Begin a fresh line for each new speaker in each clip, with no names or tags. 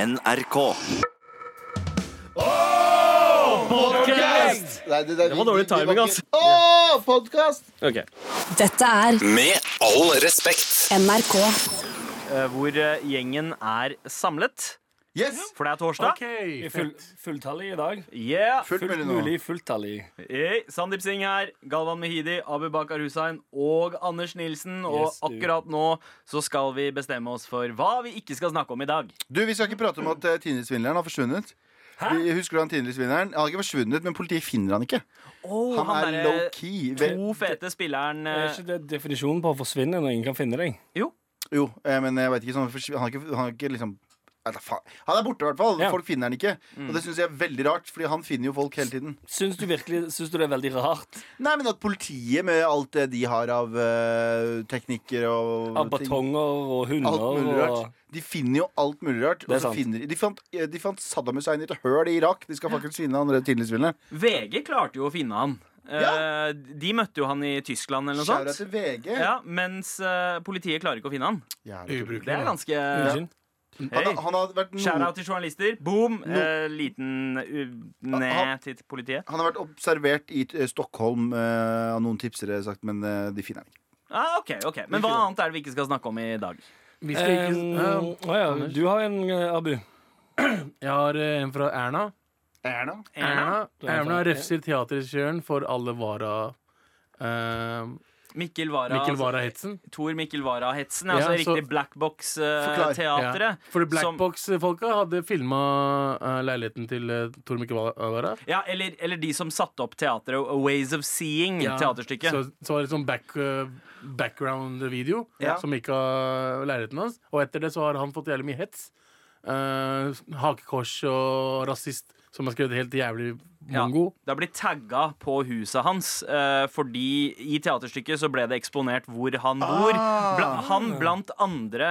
NRK.
Nei, det, det,
var dårlig timing, altså. ass.
Åh, podcast!
Ok.
Dette er
Med all respekt.
NRK.
Eh, Hvor eh, gjengen er samlet.
Yes!
For det er torsdag.
I Full, fulltallig i dag.
Yeah.
Fullt mulig
Fullt
nå.
mulig fulltallig.
Hey, Sandeep Singh her. Galvan Mehidi, Abu Bakar Hussein og Anders Nilsen. Og
Yes, du.
akkurat nå så skal vi bestemme oss for hva vi ikke skal snakke om i dag.
Du, Vi skal ikke prate om at uh, Tinder-svindleren har forsvunnet. Vi- Husker du Han Tinder-svindleren? Han har ikke forsvunnet, men politiet finner han ikke.
Oh,
Han, er low-key. Ve-
To fete spilleren
Er
eh,
ikke det definisjonen på å forsvinne når ingen kan finne deg?
Jo.
Jo, eh, men jeg vet ikke, sånn, forsv- han, har ikke, han har ikke liksom Nei, da faen. Han er borte, i hvert fall.
Ja.
Folk finner han ikke. Og det syns jeg er veldig rart, Fordi han finner jo folk hele tiden.
Syns du virkelig syns du det er veldig rart?
Nei, men at politiet, med alt det de har av eh, teknikker og
Av
ting-
batonger og hunder
Alt mulig rart.
og
De finner jo alt mulig rart.
er
Og så
sant.
finner de, de, fant, eh, de fant Saddam Hussein i et høl i Irak. De skal faktisk finne han redd tidligere.
VG klarte jo å finne han. Eh, De møtte jo han i Tyskland eller noe
Skjæra til
sånt.
VG.
Ja, mens eh, politiet klarer ikke å finne han.
Jævlig.
Det er
Ubrukelig.
ganske
Unnskyld.
Han,
Hey.
har- han har vært no-
Shout-out til journalister. Mm. Boom!
No-
Eh, liten uh,
Ah, ah.
ned til politiet.
han har vært observert i eh, Stockholm eh, av noen tipsere, sagt, men eh, de finner han ikke.
Ah, ok, ok Men hva annet er det vi ikke skal snakke om i dag?
Vi skal
Um,
ikke
Å ja, du har en, eh, Abu.
Jeg har eh, en fra Erna.
Erna?
Eh,
Erna,
Du har en
Erna
fra-
refser teaterregissøren for alle vara eh,
Mikkel Wara.
Mikkel Wara-hetsen.
Altså, Tor Mikkel Wara-hetsen.
Ja,
Altså
så-
riktig Black eh,
Forklar.
Box-teatret.
Ja. Fordi Blackbox-folka hadde filma leiligheten til eh, Tor Mikkel Wara.
ja, eller, eller de som satte opp teatret A Ways of Seeing, teaterstykket.
Så, så var det sånn back, eh, background-video
Ja.
som gikk av leiligheten hans. Og etter det så har han fått jævlig mye hets. Eh, hakekors og rasist, som har skrevet helt jævlig
Ja,
mongo.
det har blitt tagga på huset hans, eh, fordi i teaterstykket så ble det eksponert hvor han bor.
Ah.
Bla, han blant andre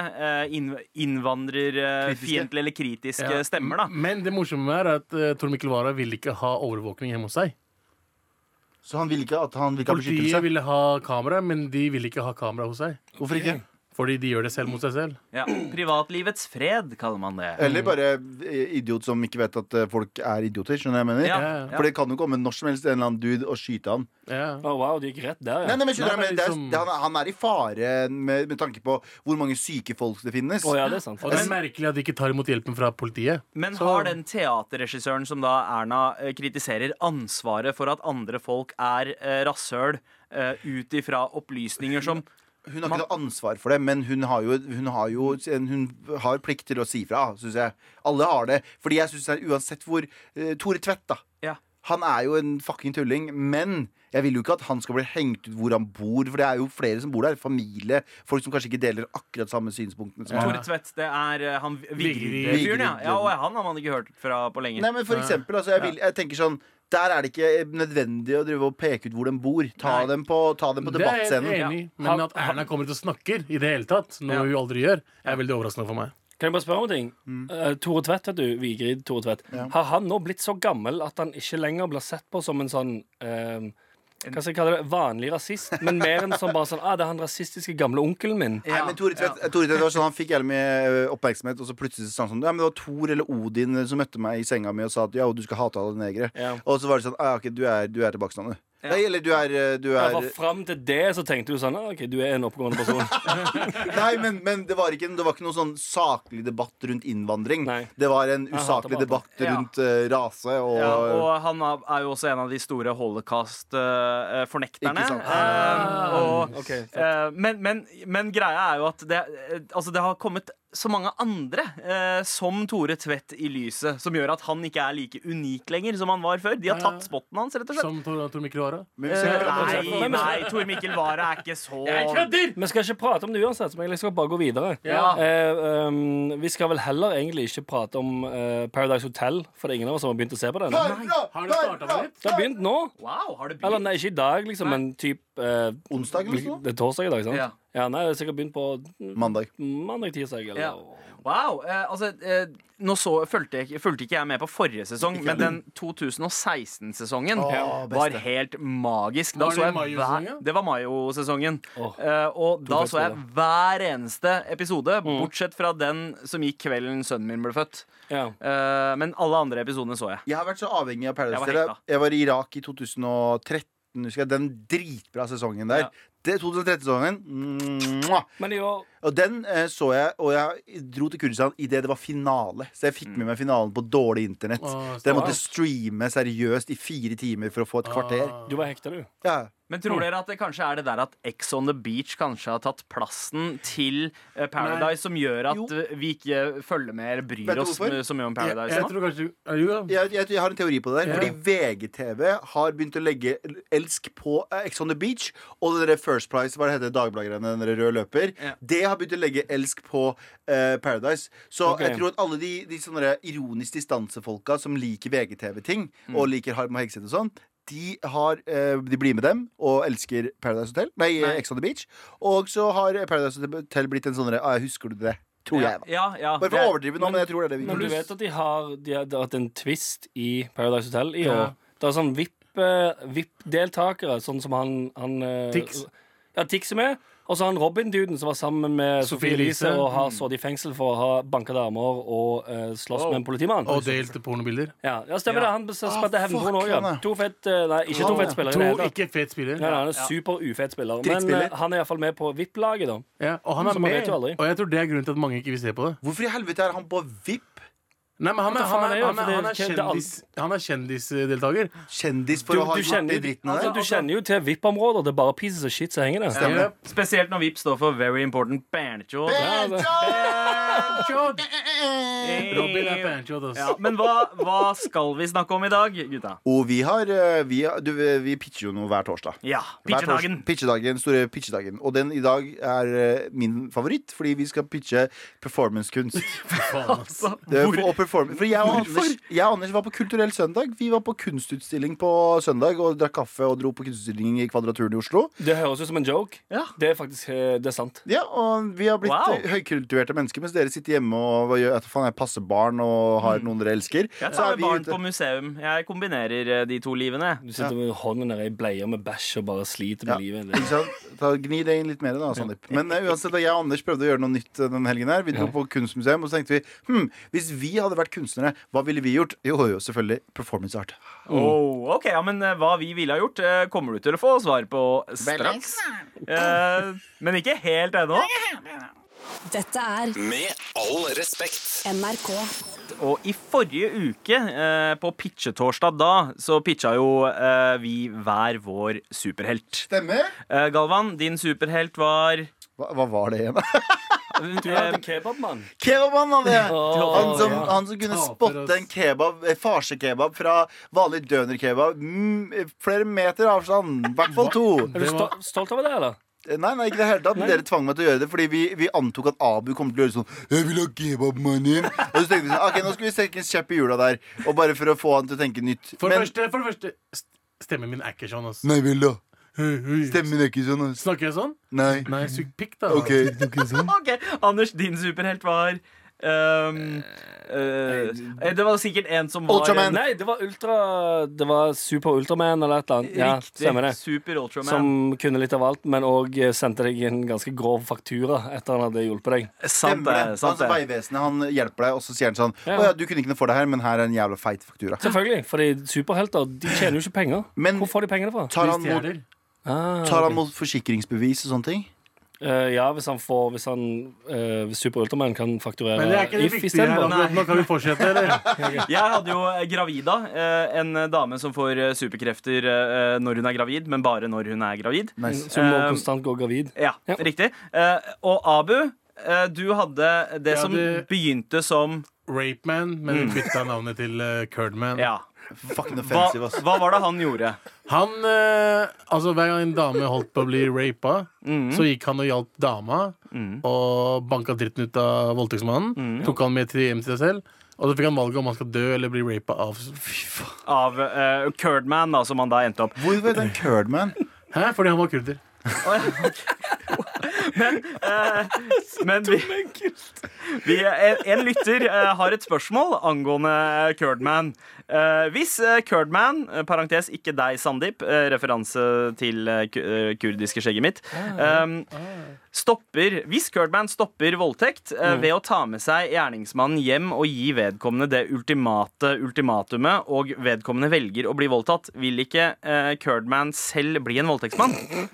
eh, innv- innvandrerfiendtlige eller kritiske
Ja,
stemmer, da.
Men det morsomme er at eh, Tor Mikkel Wara ville ikke ha overvåkning hjemme hos seg.
Så han vil ikke at han vil ikke ha
Politiet
beskyttelse?
ville ha kamera, men de ville ikke ha kamera hos seg.
Hvorfor ikke?
Fordi de gjør det selv mot seg selv.
Ja, privatlivets fred, kaller man det.
Eller bare eh, idiot som ikke vet at eh, folk er idioter. Skjønner jeg hva jeg mener?
Ja,
Ja,
ja.
For det kan jo komme når som helst en eller annen dude og skyte han.
Ja.
Å, wow, du gikk rett der,
Nei,
ja.
nei, men skjønner
Nei,
jeg, men
men
det er,
liksom-
det, han, er- han er i fare med, med tanke på hvor mange syke folk det finnes.
Å ja, det er sant.
Og det er merkelig at de ikke tar imot hjelpen fra politiet.
Men
Så-
har den teaterregissøren som da Erna eh, kritiserer, ansvaret for at andre folk er eh, rasshøl eh, ut ifra opplysninger som
Hun har ikke noe ansvar for det, men hun har jo, hun har jo en, hun har plikt til å si fra, syns jeg. Alle har det. Fordi jeg syns uansett hvor eh, Tore Tvedt, da.
Ja.
Han er jo en fucking tulling, men jeg vil jo ikke at han skal bli hengt ut hvor han bor. For det er jo flere som bor der. Familie. Folk som kanskje ikke deler akkurat samme synspunktene som
Tore
han.
Tvedt, det er eh, han
Vigrid.
Vigrid-fyren, ja. ja. Og han har man ikke hørt fra på lenge.
Nei, men for eksempel, altså, jeg, vil, jeg tenker sånn der er det ikke nødvendig å drive og peke ut hvor de bor. Ta
Nei.
dem på, ta dem på
Det er jeg
debattscenen.
enig i. Men at Erna kommer ut og snakker i det hele tatt, noe
Ja.
hun aldri gjør, er veldig overraskende for meg.
Kan jeg bare spørre om en ting?
Mm.
Eh, Tore Tvedt, vet du, Vigrid Tore Tvedt. Har han nå blitt så gammel at han ikke lenger blir sett på som en sånn eh, hva skal jeg kalle det? Vanlig rasist, men mer en sånn bare sånn ah, 'Det er han rasistiske gamle onkelen min'.
Nei, men Tore Tvedt Tore Tvedt var sånn, han fikk jævlig mye ø, oppmerksomhet, og så plutselig sa han sånn Ja, men det var Thor eller Odin eh, som møtte meg i senga mi og sa at ja, og du skal hate alle negere.
Ja.
Og så var det sånn Ja, ok, du er, du er tilbake sånn, du.
Ja.
Nei, eller du er, ø, du
Ja,
er
for fram til det så tenkte du sånn «Ah, OK, du er en oppegående person.
Nei, men, men det, var ikke, en- det var ikke noen sånn saklig debatt rundt innvandring.
Nei.
Det var en
hater
usaklig
bare
debatt
det. Ja.
rundt ø, rase og,
Ja, og han er er jo også en av de store eh, holocaust-fornekterne.
Ikke sant.
Eh, og,
Ok, fett.
eh, men, men, men greia er jo at det, eh, altså det har kommet så mange andre, eh, som Tore Tvedt i lyset, som gjør at han ikke er like unik lenger som han var før. De har
Ja.
tatt spotten hans, rett og slett. Eh,
Som Tor, Tor Mikkel Wara.
Altså- Men
Eh,
hvis jeg-
Nei, nei, Tor Mikkel Wara er ikke så
kødder!
Vi skal ikke prate om det uansett, men jeg skal bare gå videre.
Ja.
Eh, ehm, vi skal vel heller egentlig ikke prate om eh, Paradise Hotel, for det er ingen av oss som har begynt å se på den. Det
Har du starta med litt?
har begynt nå.
Wow, har det
Eller
begynt?
nei, ikke i dag, liksom,
Nei.
men typ eh,
Onsdag eller noe sånt?
Det er torsdag i dag, sant?
Ja.
Ja. Ja, nei, det er sikkert begynt på
Mandag.
mandag-tirsdag. eller-
Ja. Wow. Eh, altså, eh, nå så, fulgte, jeg, fulgte ikke jeg med på forrige sesong, men den 2016-sesongen
Åh,
var
beste.
helt magisk. Da
Var det
så jeg
Mayo-sesongen?
hver- det var Mayo-sesongen.
Åh,
Eh, og da
fett
så jeg
episoder.
hver eneste episode, bortsett fra den som gikk kvelden sønnen min ble født.
Ja.
Eh, men alle andre episodene så jeg.
Jeg har vært så avhengig av Paradise
Jeg var
Hotel.
hekta.
Jeg, var i Irak i 2013, husker jeg. Den dritbra sesongen der.
Ja.
Det 2013-sesongen. mwah!
Men i år
Og den eh, så jeg, og jeg dro til Kurdistan idet det var finale. Så jeg fikk
Mm.
med meg finalen på dårlig internett.
Åh,
Så jeg måtte
stas.
streame seriøst i fire timer for å få et kvarter.
Ah.
Du var hekta, du.
Ja.
Men tror dere at det kanskje er det der at Ex on the Beach kanskje har tatt plassen til eh, Paradise, som gjør at
Jo.
eh, vi ikke følger med eller bryr
Vet du
oss
hvorfor?
med- så mye om
Jeg,
Paradise?
jeg
nå?
tror kanskje er du, ja.
Jeg, jeg, jeg har en teori på det der.
Ja.
Fordi VGTV har begynt å legge elsk på eh, Ex on the Beach. Og den der First Price, hva det heter Dagbladet-greiene, den der røde løper,
Ja.
det har begynt å legge elsk på eh, Paradise. Så
Ok.
jeg tror at alle de, de sånne der ironisk distansefolka som liker VGTV-ting, og liker Harm og Hegseth og sånn, de, har, eh, de blir med dem og elsker Paradise Hotel. Nei,
Nei.
Ex on the Beach. Og så har Paradise Hotel blitt en sånn derre ah, Husker du det? Tror
ja,
jeg, da.
ja, ja,
Bare for å overdrive nå, men jeg tror det er det vi
Men du vet at de har De har hatt en twist i Paradise Hotel i
Ja.
år. Det er sånn VIP, eh, VIP-deltakere, sånn som han, han eh,
Tix.
Ja, Tix er med. Og så han Robin-duden som var sammen med
Sophie
Sophie Elise
Elise.
og har sittet i fengsel for å ha banka damer og eh, slåss
Wow.
med en politimann.
Og delte pornobilder.
Ja, ja stemmer
Ja.
det. Han spilte
Ah,
hevnporn
fuck,
òg, ja.
han er-
To fett eh, Nei, ikke to
Han er-
fett spillere. i
To
det hele tatt.
ikke fete spillere.
Ja, han er
Ja.
super ufet spiller, men
Drittspiller.
eh, han er iallfall med på VIP-laget, da.
Ja, og han er
Så man vet
med,
jo aldri.
og jeg tror det er grunnen til at mange ikke vil se på det.
Hvorfor i helvete er han på VIP?
Nei, men Han er,
Hva faen
han
er
er,
det,
han er,
for det-
han er,
det er alt-
kjendis, han er kjendisdeltaker.
kjendis for
Du,
å ha
du,
gjort
kjenner,
det dritten av det.
altså, du kjenner jo til VIP-områder. Det er bare piss og shit som henger der.
Stemmer.
Spesielt når VIP står for Very Important Berncho.
Panchod!
Hey.
Robin er panchod, ass.
Ja, men hva, hva skal vi snakke om i dag, gutta?
Og vi har, eh, vi, har du, vi pitcher jo noe hver torsdag.
Ja,
Hver tors-
Pitchedagen.
pitchedagen, store pitchedagen. Og den i dag er eh, min favoritt, fordi vi skal pitche performancekunst.
Faen, ass.
Det er for- og perform- For jeg og, Anders, jeg og Anders var på Kulturell søndag. Vi var på kunstutstilling på søndag og drakk kaffe og dro på kunstutstilling i Kvadraturen i Oslo.
Det høres ut som en joke.
Ja.
Det er faktisk eh, det er sant.
Ja, og vi har blitt
Wow.
eh, høykultiverte mennesker, mens dere sitter hjemme og hva gjør, at faen, jeg passer barn og har noen dere elsker.
Mm. Jeg
Så
tar
er
med
vi
barn
ute- Mm.
på museum. Jeg kombinerer eh, de to livene.
Du sitter med hånden nedi bleia med bæsj og bare sliter med livet.
Ikke sant? Ta, gni det inn litt mer, da, Sandeep. Men eh, uansett, da jeg og Anders prøvde å gjøre noe nytt eh, den helgen her. Vi dro på kunstmuseum, og så tenkte vi hm, hvis vi hadde vært kunstnere, hva ville vi gjort? Jo, jo, selvfølgelig performance art.
Oh, ok, ja, men eh, Hva vi ville ha gjort, eh, kommer du til å få svar på straks. Eh, men ikke helt ennå.
Dette er
Med all respekt.
NRK.
Og i forrige uke, eh, på pitchetorsdag da, så pitcha jo eh, vi hver vår superhelt.
Stemmer.
Eh, Galvan, din superhelt var eh,
Hva, hva var det igjen, da?
Du er en kebabmann.
Kebaben, han det! Han som,
ja.
han som kunne
Taper oss.
spotte en kebab, eh, farsekebab fra vanlig dønerkebab mm, eh, flere meter avstand. I hvert fall to.
Er du
Det var-
stol- stolt over det, eller?
Eh, Nei, nei, ikke i det hele tatt. men Dere tvang meg til å gjøre det fordi vi, vi antok at Abu kom til å gjøre sånn Jeg vil ha kebab, mannen. Og så tenkte vi sånn, ok, nå skal vi stikke en kjepp i hjula der. Og bare for å få han til å tenke nytt.
For, det første, for det første, st- stemmen min er ikke sånn, ass.
Nei vel, da.
Hei, hei.
Stemmen er ikke sånn. ass.
Snakker jeg sånn?
Nei.
Nei, sug pikk, da.
OK.
OK, Anders, din superhelt var ehm, eh, eh, Det var sikkert en som var
Ultraman.
en-
Nei, det var ultra Det var Super Ultraman eller et eller annet. Ja,
Riktig.
stemmer det.
Super Ultraman.
Som kunne litt av alt, men òg sendte deg en ganske grov faktura etter han hadde hjulpet deg.
sant
Stemmer det.
det. Sant
Altså,
det.
Vegvesenet han hjelper deg, og så sier han sånn
Ja.
Å ja, du kunne ikke noe for det her, men her er en jævla feit faktura.
Selvfølgelig, fordi superhelter de tjener jo ikke penger.
Men-
Hvor får de pengene fra?
Tar
Hvis
han
de er
mot,
der.
Ah,
tar
ok.
han mot forsikringsbevis og sånne ting?
Eh, ja, hvis han får Hvis han eh, hvis Super Ultraman kan fakturere
Men det er ikke det
If
viktige her.
istedenfor.
akkurat Nå kan vi fortsette, eller?
Jeg hadde jo eh, Gravida, eh, en dame som får eh, superkrefter eh, når hun er gravid, men bare når hun er gravid.
Nice.
Så hun må
Eh,
konstant gå gravid.
Ja,
Ja.
riktig. Eh, Og Abu, eh, du hadde det
Jeg
som
hadde-
begynte som
Rape Man, men
Mm.
vi bytta navnet til eh, Kurdman.
Ja.
Fucking
Hva,
offensive, ass.
hva var det han gjorde?
Han, eh, altså Hver gang en dame holdt på å bli rapa, så gikk han og hjalp dama. Og banka dritten ut av voldtektsmannen. Tok han med til hjem til seg selv. Og så fikk han valget om han skal dø eller bli rapa av
Av uh, Kurdman, da, som han da endte opp.
Hvor var den Kurdman?
Hæ? Fordi han var kurder.
Men, eh, men vi, vi, en, en lytter eh, har et spørsmål angående Kurdman. Eh, hvis eh, Kurdman, eh, parentes ikke deg, Sandeep, eh, referanse til eh, ku- eh, kurdiske skjegget mitt ehm, stopper, Hvis Kurdman stopper voldtekt eh, ved å ta med seg gjerningsmannen hjem og gi vedkommende det ultimate ultimatumet, og vedkommende velger å bli voldtatt, vil ikke eh, Kurdman selv bli en voldtektsmann?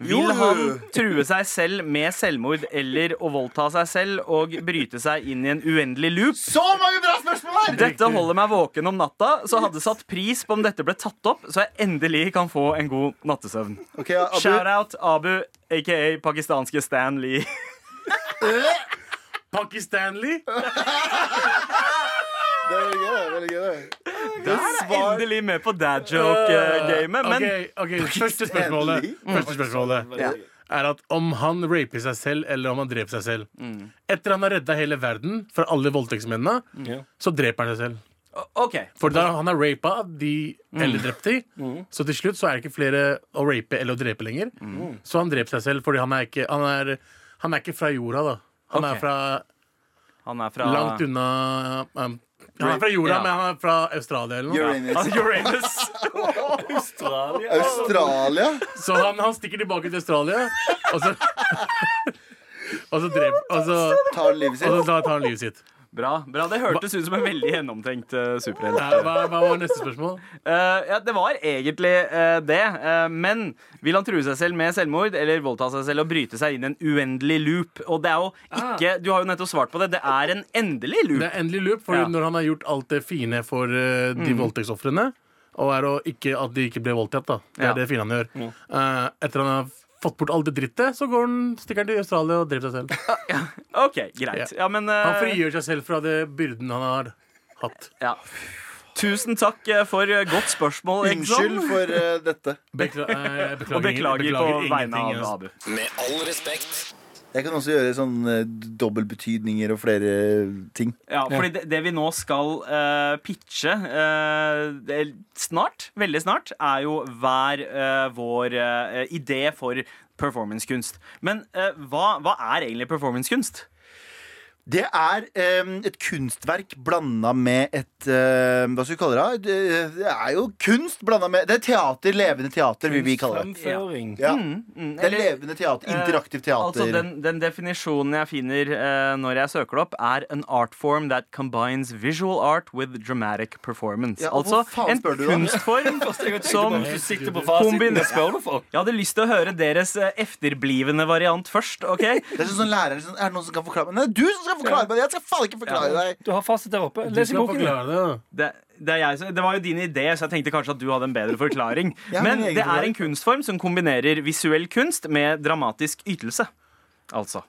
Vil han true seg selv med selvmord eller å voldta seg selv og bryte seg inn i en uendelig loop?
Så mange bra spørsmål her!
Dette holder meg våken om natta, så hadde satt pris på om dette ble tatt opp, så jeg endelig kan få en god nattesøvn.
Ok, Abu.
Shout-out Abu, aka pakistanske Stan Lee.
Pakistanly?
Det er veldig gøy. det er veldig gøy
Du er endelig med på dad
Eh,
joke-gamet, men
Ok, ok, Første spørsmålet, første spørsmålet er at om han raper seg selv, eller om han dreper seg selv. Etter han har redda hele verden fra alle voldtektsmennene,
Ja.
så dreper han seg selv.
OK.
For da han har rapa de
Mm.
eller drept de, så til slutt så er det ikke flere å rape eller å drepe lenger.
Mm.
Så han dreper seg selv fordi han er ikke, han er, han er ikke fra jorda, da. Han
Ok.
er fra
Han er fra
langt unna um, Han er fra jorda,
Ja.
men han er fra Australia eller noe.
Uranus.
Uranus.
Australia.
Australia?
Så han, han stikker tilbake til Australia, og så Og så dreper Og så,
Tar livet
og så
sitt?
tar han livet sitt.
Bra. bra, Det hørtes ut som en veldig gjennomtenkt uh, superhelt.
Nei, Eh, Hva, hva var neste spørsmål?
Eh, ja, det var egentlig eh, det. eh, men vil han true seg selv med selvmord eller voldta seg selv og bryte seg inn i en uendelig loop? Og det er jo ikke Du har jo nettopp svart på det. Det er en endelig
Ah. Det
loop.
er endelig loop, for
Ja.
når han har gjort alt det fine for eh, de voldtektsofrene, og er å ikke, at de ikke ble voldtatt, da. Det er
Ja.
det fine han gjør. Eh, etter han har fått bort alt det drittet, så går han, stikker han til Australia og dreper seg selv.
OK, greit. Ja, men eh,
Han frigjør seg selv fra det byrden han har hatt.
ja. Tusen takk eh, for eh, godt spørsmål,
Unnskyld
Exxon.
for eh, dette.
Bekla eh, jeg beklager,
Og beklager,
ingen-
på vegne av
ingenting, ass.
Abu.
Med all respekt.
Jeg kan også gjøre sånn eh, dobbeltbetydninger og flere eh, ting.
Ja, fordi det, det vi nå skal eh, pitche eh, det- snart, veldig snart, er jo hver eh, vår eh, idé for performancekunst. Men eh, hva, hva er egentlig performancekunst?
Det er eh, et kunstverk blanda med et eh, Hva skal vi kalle det? Det det er jo kunst blanda med Det er teater. Levende teater, vil vi kalle det.
Fremføring.
Ja.
Mm,
Det er levende teater. Interaktivt teater.
Altså den, den definisjonen jeg finner eh, når jeg søker det opp, er an art form that combines visual art with dramatic performance.
Ja, og
altså
hvor faen
en
spør du da?
kunstform som
Som sikter på fasiten.
Kombiner-
Det spør du for.
Jeg hadde lyst til å høre deres eh, efterblivende variant først. ok?
Det er sånn som lærer sånn, Er det noen som kan forklare meg? Nei, du som skal forklare meg det! Jeg skal faen ikke forklare deg!
Du har fasit der oppe.
Du
Les i
skal
boken.
forklare det. da.
Det, det, er jeg, som- det var jo din idé, så jeg tenkte kanskje at du hadde en bedre forklaring.
Ja,
men
min egen
det er
forklaring.
en kunstform som kombinerer visuell kunst med dramatisk ytelse. Altså.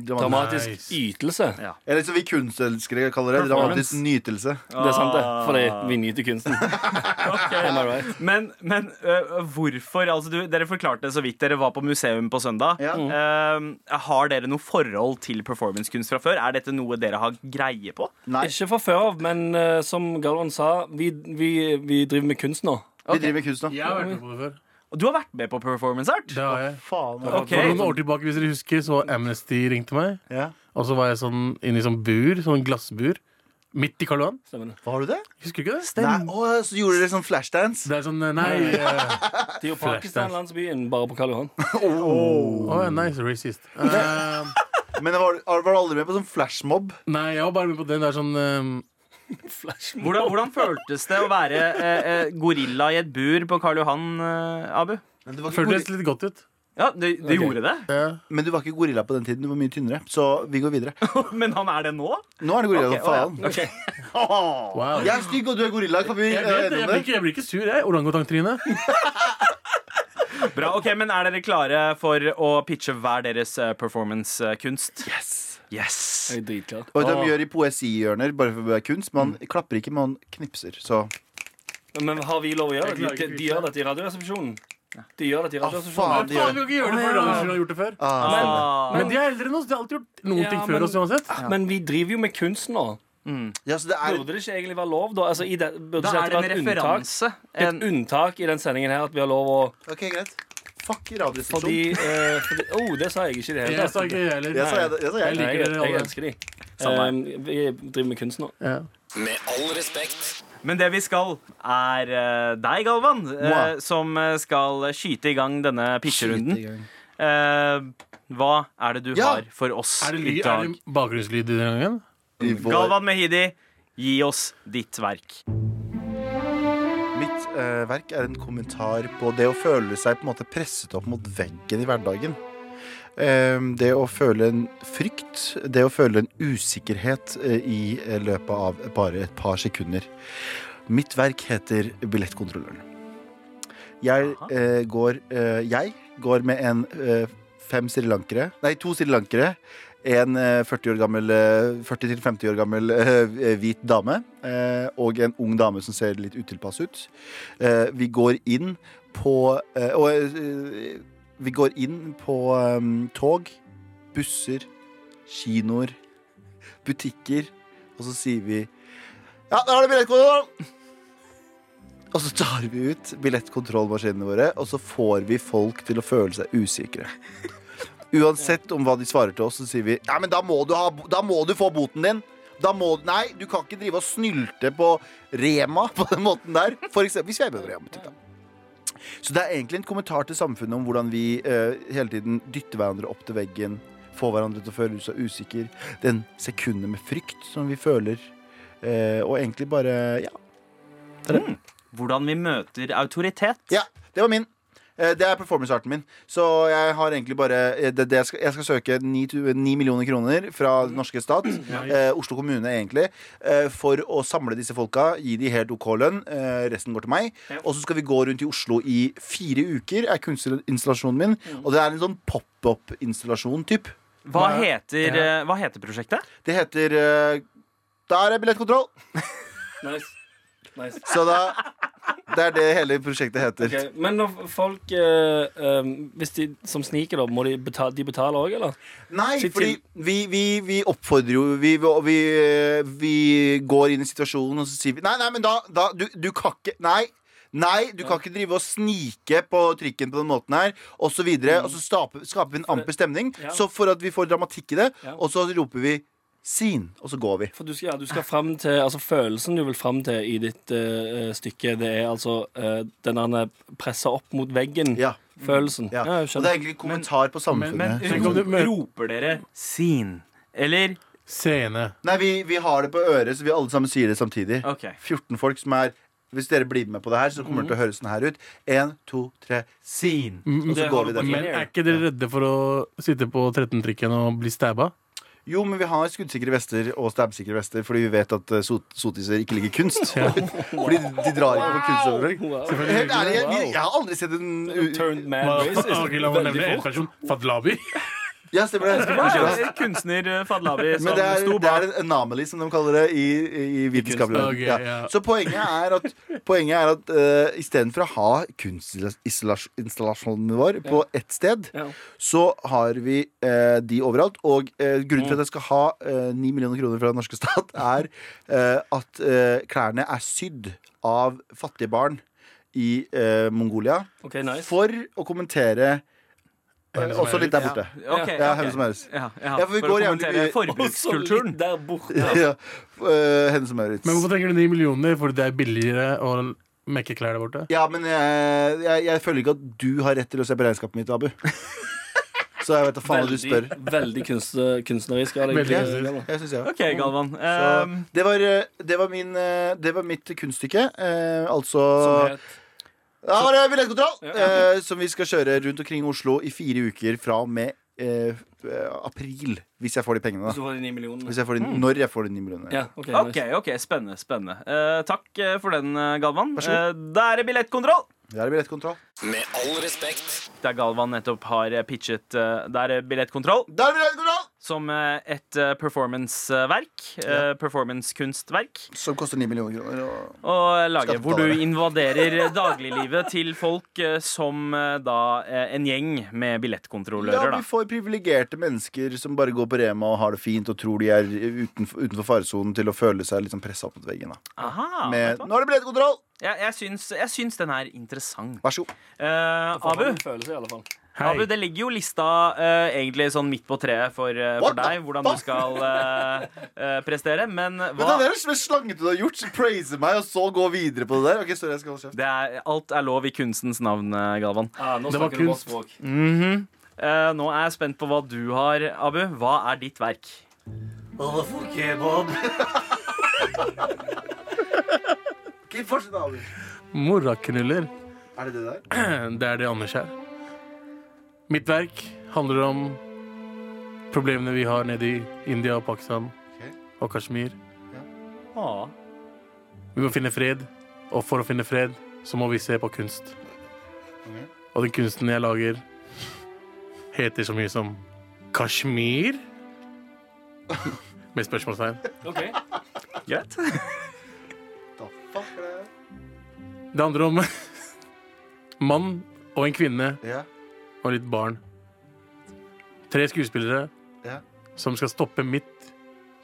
Dramatisk
Nice.
ytelse.
Eller som vi kunstelskere kaller det. Dramatisk nytelse.
Det er sant, det. Fordi vi nyter kunsten. Am I right?
Men, men øh, hvorfor? Altså, du, dere forklarte det så vidt. Dere var på museum på søndag.
Ja.
Mm.
Eh, har dere noe forhold til performancekunst fra før? Er dette noe dere har greie på?
Nei.
Ikke fra før av, men eh, som Galvan sa, vi, vi, vi driver med kunst nå.
Vi driver med kunst nå.
Jeg har vært med på det før.
Og Du har vært med på performance art?
Det har jeg.
Faen,
Ok.
For noen år tilbake, hvis dere husker, så Amnesty ringte meg.
Ja.
Og så var jeg sånn inne i sånn bur, sånn glassbur, midt i Karl Johan.
Stemmer det.
Var du det?
Husker du ikke det?
Nei, å, så gjorde dere sånn flashdance?
Det er sånn eh, Nei. eh,
Det er jo Pakistan-landsbyen, bare på Karl Johan.
Å, ja, nice racist. Eh,
Men var, var du aldri med på sånn flashmob?
nei, jeg var bare med på den der sånn eh,
Hvordan, hvordan føltes det å være eh, eh, gorilla i et bur på Karl Johan, eh, Abu?
Men du, var ikke
Føltes
gorilla,
litt godt ut.
Ja, du, du gjorde det?
Ja.
men du var ikke gorilla på den tiden. Du var mye tynnere. Så vi går videre.
Men han er det nå?
Nå er det gorilla
Ok,
som faen.
å ja, ok.
Wow.
Jeg er stygg, og du er gorilla. Kan vi
Jeg,
eh,
vet,
enige om
det, jeg, blir
det?
ikke, jeg blir ikke sur, jeg. Orangutang-Trine.
Bra, ok, Men er dere klare for å pitche hver deres eh, performancekunst? Yes. yes.
Jeg er dritklar.
Og de gjør i poesihjørner, bare for å være kunst. Man
Mm.
klapper ikke, man knipser. Så
Ah. Men har vi lov å gjøre
Jeg klarer
det?
ikke
De, de gjør dette i Radioresepsjonen. De gjør dette i
Ah, faen,
Radioresepsjonen.
de gjør det.
kan ikke gjøre det før Radioresepsjonen har gjort det før.
Ah,
Men,
Men de er eldre enn oss. De har alltid gjort noen
Ja,
ting
men-
før oss uansett.
Men vi driver jo med kunst nå.
ja, så det er
Burde det ikke egentlig være lov, da? Altså, i det, burde
da
ikke
er
dette
det en
være et unntak?
referanse.
Et unntak i den sendingen her at vi har lov å
Ok, greit. fuck i
Fordi,
Radioresepsjonen.
eh, fordi Oh, det sa jeg ikke i det hele
Jeg sa
tatt.
ikke jeg heller.
Det sa jeg, det sa
Jeg,
jeg.
liker
jeg,
dere
jeg
alle.
elsker de.
Samme
Eh, vi driver med kunst nå.
Ja.
Med all respekt.
Men det vi skal, er eh, deg, Galvan, eh,
Moi.
som eh, skal skyte i gang denne pitcherunden.
gang.
Eh, hva er det du
Ja.
har for oss
Er det,
i
ly- er
dag?
det bakgrunnslyd i denne gangen?
I vår-
Galvan Mehidi, gi oss ditt verk.
Mitt eh, verk er en kommentar på det å føle seg på en måte presset opp mot veggen i hverdagen. Ehm, det å føle en frykt, det å føle en usikkerhet eh, i eh, løpet av bare et par sekunder. Mitt verk heter Billettkontrolløren. Jeg
Aha.
eh, går eh, Jeg går med en eh, fem srilankere Nei, to srilankere. En eh, 40 år gammel, eh, 40-50 år gammel eh, hvit dame eh, og en ung dame som ser litt utilpass ut. Eh, Vi går inn på eh, Og eh, vi går inn på eh, tog, busser, kinoer, butikker, og så sier vi Ja, der har du billettkontrollen! Og så tar vi ut billettkontrollmaskinene våre, og så får vi folk til å føle seg usikre. Uansett om hva de svarer til oss, så sier vi Ja, men da må du, ha, da må du få boten din. Da må, nei, du kan ikke drive og snylte på Rema på den måten der. For eksempel, hvis vi er på Rema. da. Så det er egentlig en kommentar til samfunnet om hvordan vi eh, hele tiden dytter hverandre opp til veggen, får hverandre til å føle seg usikker, den sekundet med frykt som vi føler, eh, og egentlig bare Ja.
Hvordan vi møter autoritet.
ja det var min. Eh, det er performancearten min. Så jeg har egentlig bare eh, det, det jeg, skal, jeg skal søke 9, millioner kroner fra den norske stat, eh, Oslo kommune egentlig, eh, for å samle disse folka, gi de helt OK lønn. Eh, resten går til meg. Og så skal vi gå rundt i Oslo i fire uker, er kunstinstallasjonen min. Og det er en sånn pop-up-installasjon, typ.
Hva heter, eh, hva heter prosjektet?
Det heter eh, Der er billettkontroll!
Nice. Nice.
Så da Det er det hele prosjektet heter.
Ok, Men når folk eh, eh, Hvis de som sniker, da, må de betale, de betaler òg, eller?
Nei,
Sitt
fordi vi, vi, vi oppfordrer jo vi, vi, vi går inn i situasjonen og så sier vi Nei, nei, men da, da du, du kan ikke Nei. Nei, du kan ikke drive og snike på trikken på den måten her, og så videre. Og så stape, skaper vi en amper stemning.
Ja.
Så for at vi får dramatikk i det,
Ja.
og så roper vi 'sin', og så går vi.
For du skal, ja, du skal frem til Altså Følelsen du vil fram til i ditt eh, stykke, det er altså uh, den der pressa opp mot veggen.
Ja.
Følelsen.
ja.
Ja,
og det er
jeg skjønner.
egentlig kommentar på samfunnet.
Men
Tenk om du møter-
roper dere 'sin'? Eller
Scene.
Nei, vi, vi har det på øret, så vi alle sammen sier det samtidig.
OK.
14 folk som er Hvis dere blir med på det her, så kommer det til å høres sånn her ut. Én, to, tre, sin. Og så
det
går vi
holder på
derfra.
med.
Men er ikke dere redde for å sitte på 13-trikken og bli stabba?
Jo, men vi har skuddsikre vester og stabsikre vester fordi vi vet at eh, sot sotiser ikke liker kunst. fordi de drar ikke på kunstoverdrag.
Wow.
Helt ærlig, jeg,
Wow.
jeg har aldri sett en
Turned man racist.
Ok, la meg nevne en
Veldig fort.
person. Fadlabi.
Ja, stemmer det. Stemmer det.
Kanskje kunstner eh, Fadlavi som
Men det er,
sto
det er
bak.
en anomaly, som de kaller det i, i vitenskapen.
Ok, ja.
Så poenget er at, poenget er at eh, istedenfor å ha kunstinstallasjonen vår på ett sted,
Ja.
så har vi eh, de overalt. Og eh, grunnen til at jeg skal ha eh, 9 millioner kroner fra den norske stat, er eh, at eh, klærne er sydd av fattige barn i eh, Mongolia
OK, nice.
for å kommentere eh,
Henne som
også
er
litt der borte.
Ok,
Ja,
ok.
henne som høres.
Ja, ja.
Ja, for vi
for å
går jævlig
kommentere
mye-
Også
forbrukskulturen.
litt der borte.
Ja, eh, henne som høres.
Men hvorfor trenger du 9 millioner? Fordi det er billigere å mekke klær der borte?
Ja, men jeg, jeg, jeg føler ikke at du har rett til å se på regnskapet mitt, Abu. Så jeg vet da faen hva du spør.
Veldig, veldig kunst, kunstnerisk. av deg.
Veldig
Jeg,
kunstnerisk.
jeg synes jeg var.
OK, Galvan.
Så
eh,
det var, eh, det var, min, eh, det var mitt kunststykke. Eh, altså
Som het-
Da var det billettkontroll!
Ja.
Eh, som vi skal kjøre rundt omkring Oslo i fire uker fra og med eh, eh, april. Hvis jeg får de pengene,
Hvis
da.
du får de ni millionene.
Hvis jeg får de, når jeg får de ni millionene.
Ja, OK.
OK,
nice.
ok, spennende. spennende Eh, Takk eh, for den, eh, Galvan. Eh, da er det billettkontroll!
Det er billettkontroll.
Med all respekt.
Der Galvan nettopp har eh, pitchet eh, Det er billettkontroll
Det er billettkontroll!
som eh, et eh, performanceverk. eh, Performancekunstverk.
Som koster ni millioner kroner. Og...
Og laget hvor du
Skattebetalere.
invaderer dagliglivet til folk eh, som eh, da eh, en gjeng med
Ja,
billettkontrollører,
vi
da.
får privilegerte mennesker som bare går på Rema og har det fint og tror de er utenfor, utenfor faresonen til å føle seg liksom pressa opp mot veggen. Da.
Aha,
Med
vet du hva?
'Nå er det billettkontroll!'
Jeg, jeg, syns, jeg syns den er interessant.
Vær så god.
Eh,
Får
Abu,
en følelse, i alle fall.
Abu, det ligger jo lista eh, egentlig sånn midt på treet for, eh, for
What the
deg, hvordan du skal eh, eh, prestere, men
Vet du,
hva
det er det slangete du har gjort. Praise meg, og så gå videre på det der. Ok, sorry, jeg skal holde kjeft.
det er, alt er lov i kunstens navn, eh, Galvan.
Ah, nå
Det var
snakker du
kunst.
vårt språk.
Mhm. Eh, nå er jeg spent på hva du har, Abu. Hva er ditt verk?
Ok, fortsett, Abu.
Moraknuller.
Er det det der?
Det er det Anders er. Mitt verk handler om problemene vi har nede i India og Pakistan
Ok.
og Kashmir.
Ah.
Vi må finne fred, og for å finne fred så må vi se på kunst.
Ok.
Og den kunsten jeg lager, heter så mye som Kashmir? Med spørsmålstegn.
Ok.
Greit.
Da fuck er det?
Det handler om mann og en kvinne
Ja.
og litt barn. Tre skuespillere
Ja.
som skal stoppe midt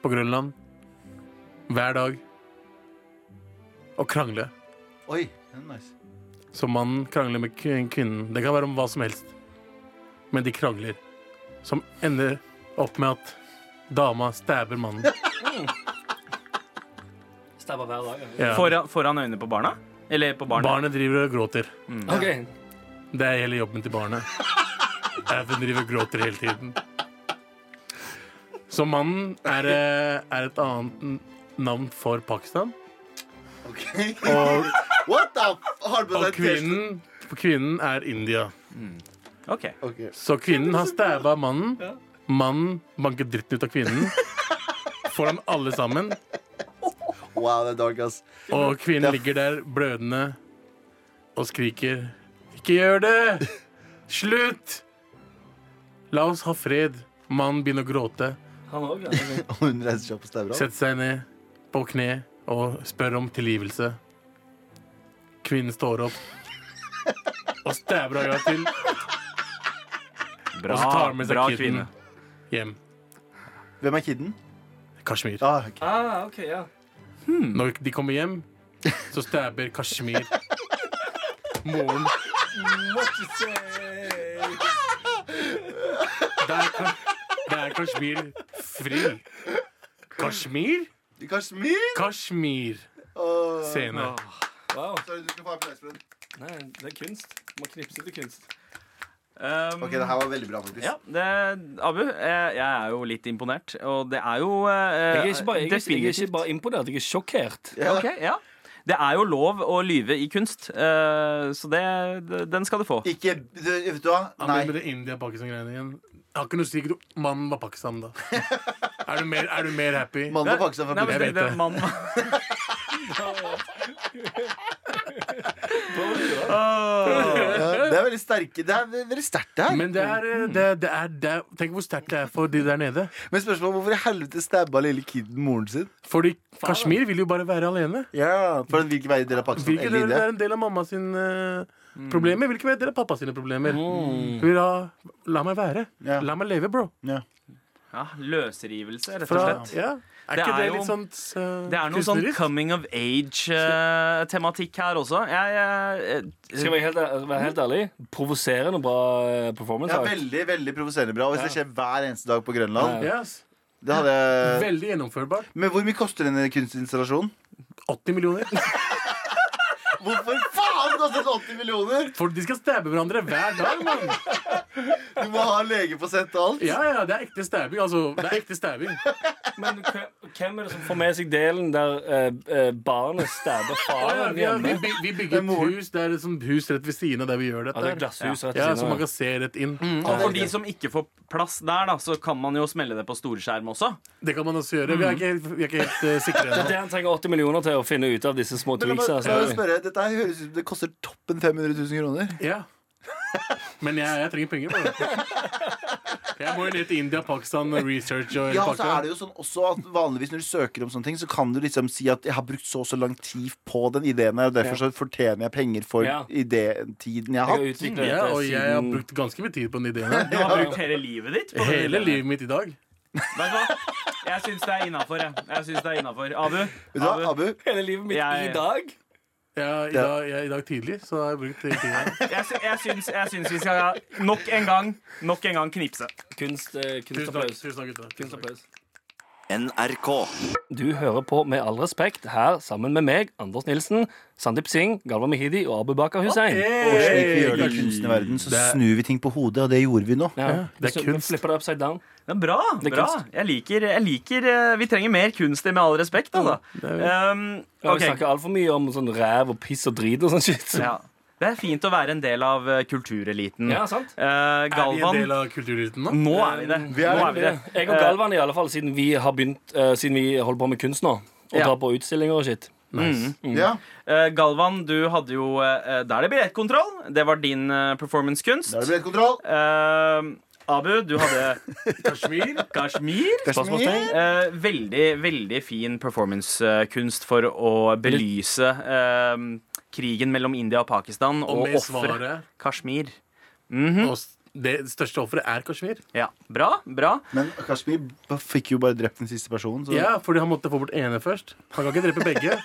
på Grønland hver dag og krangle.
Oi, den er nice.
Så mannen krangler med kvin- kvinnen. Det kan være om hva som helst. Men de krangler. Som ender opp med at dama stabber mannen.
Stabber hver dag. ja.
Ja.
Foran, foran øynene på barna? Eller på barnet?
Barnet driver og gråter.
Ok.
Det er hele jobben til barnet. Er at hun driver og gråter hele tiden. Så mannen er, eh, er et annet n- navn for Pakistan.
Ok.
Og,
What the f... Har du på
og
deg T-skjorte?
kvinnen, kvinnen er India.
Ok.
Ok.
Så kvinnen har stabba mannen. Mannen banker dritten ut av kvinnen. Foran alle sammen.
Wow, det er dark, ass.
Og kvinnen ligger der blødende og skriker Ikke gjør det! Slutt! La oss ha fred. Mannen begynner å gråte.
Han òg, ja. Ok.
Og hun reiser seg opp og stabber av.
Setter seg ned på kne og spør om tilgivelse. Kvinnen står opp og stabber øya til
Bra,
Og så tar han med seg
bra
kiden.
kvinne.
hjem.
Hvem er kiden?
Kashmir.
Ah, ok.
Ah, ok, ja.
Når de kommer hjem, så stabber Kashmir moren. Da er, Ka- da er Kashmir fri. Kashmir?
I Kashmir?
Kashmir.
Åh.
Scene.
Wow.
Sorry, du skal få applaus for den.
Nei, det er kunst. Må knipse til kunst.
Um,
Ok, det her var veldig bra, faktisk.
ja, det, Abu, eh, jeg er jo litt imponert, og det er jo eh,
Jeg er ikke bare, jeg, er- jeg er
definitivt-
ikke bare imponert, jeg er sjokkert.
Ja.
Ok, ja. Det er jo lov å lyve i kunst, eh, så det, det- den skal du få.
Ikke du, Vet du hva?
Ja, men
Nei.
Med det India-Pakistan-greiene igjen. Jeg har ikke noe å si. ikke noe- Mannen var Pakistan, da. Er du mer, er du mer happy?
Mannen var faktisk fra
Nei, men
Jeg
Brunei.
det, det,
vet det.
mann,
Ja, Det er veldig sterke Det er veldig sterkt, det her. Men,
Men det er, eh, det, det er, det er Tenk hvor sterkt det er for de der nede.
spørsmålet er hvorfor i helvete stabba lille kiden moren sin?
Fordi Kashmir vil jo bare være alene.
Ja, For den vil ikke være en del av Pakistan
Vil ikke
eller
det, det
India.
er en del av mamma sine
Mm.
problemer. Vil ikke være en del av pappa sine problemer. Hun Vil ha, la meg være.
Ja.
La meg leve, bro.
Ja.
ja, løsrivelse, rett og
Fra,
slett.
ja. Er
Det
ikke
er
det
jo-
litt sånn eh,
Det er noe sånn
kunstnerisk?
coming of age-tematikk her også. Jeg, jeg,
Skal jeg være helt, være helt ærlig? Provoserende bra eh, performance.
Ja,
art.
veldig veldig provoserende bra. Og hvis det skjer hver eneste dag på Grønland
Yes.
Det hadde jeg
Veldig gjennomførbart.
Men hvor mye koster denne kunstinstallasjonen?
80 millioner.
Hvorfor faen koster den 80 millioner?!
For de skal stabbe hverandre hver dag, mann!
Du må ha lege på sett og alt.
Ja, ja, det er ekte stabbing. Altså, det er ekte stabbing.
Men hva- hvem er det som får med seg delen der eh, eh, barnet stabber
Ja,
faren
vi, har- vi,
hjemme?
byg- vi bygger et hus Det er et sånt hus rett ved siden av der vi gjør
Ja, det er
dette.
glasshus rett
Ja,
ved
Så
siden
man
av.
kan se rett inn.
og for de som ikke får plass der, da, så kan man jo smelle det på storskjerm også.
Det kan man også gjøre. Vi er ikke helt, vi er ikke helt eh, sikre
Det
ennå.
han trenger 80 millioner til å finne ut av disse små
Men la meg,
tweaksa.
la meg
altså.
spørre, Dette her høres ut som det koster toppen 500 000 kroner.
Ja. Men jeg, jeg trenger penger. Bare. Jeg må jo ned til India, Pakistan, research og
Ja, og så er det jo sånn også at Vanligvis når du søker om sånne ting, så kan du liksom si at 'jeg har brukt så og så lang tid på den ideen her', og derfor så fortjener jeg penger for
Ja.
idétiden jeg
Jeg
har
har
hatt.
utviklet
Ja,
dette
og jeg har
siden-
brukt ganske mye tid på den ideen. her.
Du har brukt hele livet ditt på det.
Hele livet mitt i dag.
Vet du hva? Jeg syns det er innafor, jeg. jeg synes det er innenfor. Abu,
Vet du hva, Abu?
Hele livet mitt
Jeg-
i dag.
Ja, i, dag, jeg, I dag tidlig så har jeg brukt de tingene.
Jeg, sy- jeg, syns, jeg syns vi skal nok en gang Nok en gang knipse.
Kunst, eh,
Tusen takk,
kunstapplaus.
tusen takk, gutter. Tusen takk.
Kunstapplaus.
NRK.
Du hører på Med all respekt her sammen med meg, Anders Nilsen, Sandeep Singh, Galvan Mehidi og Abu Bakar Hussein.
Og slik vi gjør det i kunstnerverdenen, så snur vi ting på hodet, og det gjorde vi nå.
Ja,
det er
så vi
kunst.
Flipper det upside down.
Ja, bra.
Det er
bra.
kunst.
Jeg liker, jeg liker eh, Vi trenger mer kunst, med all respekt. Altså. Um, ok.
Ja, Vi snakker altfor mye om sånn ræv og piss og drit og sånn shit. Mm.
ja. Det er fint å være en del av eh, kultureliten.
Ja, sant?
Eh,
Er vi en
Galvan,
del av kultureliten nå?
nå er vi det. Nå er vi det. Eh.
Jeg og Galvan, i alle fall, siden vi har begynt eh, Siden vi holder på med kunst nå. Og
Ja.
drar på utstillinger og shit.
Ja.
Eh, Galvan, du hadde jo eh, Da er det billettkontroll. Det var din eh, performancekunst.
Da er det billettkontroll.
Eh, Abu, du hadde
Kashmir?
Kashmir.
Spørsmålstegn?
Eh, veldig, veldig fin performancekunst for å belyse eh, krigen mellom India og Pakistan
Og
og
med
offeret
svaret
Kashmir. Mhm,
og s- Det største offeret er Kashmir.
Ja, Bra. bra
Men Kashmir b- fikk jo bare drept den siste personen. Så
Ja, fordi han måtte få bort ene først. Han kan ikke drepe begge.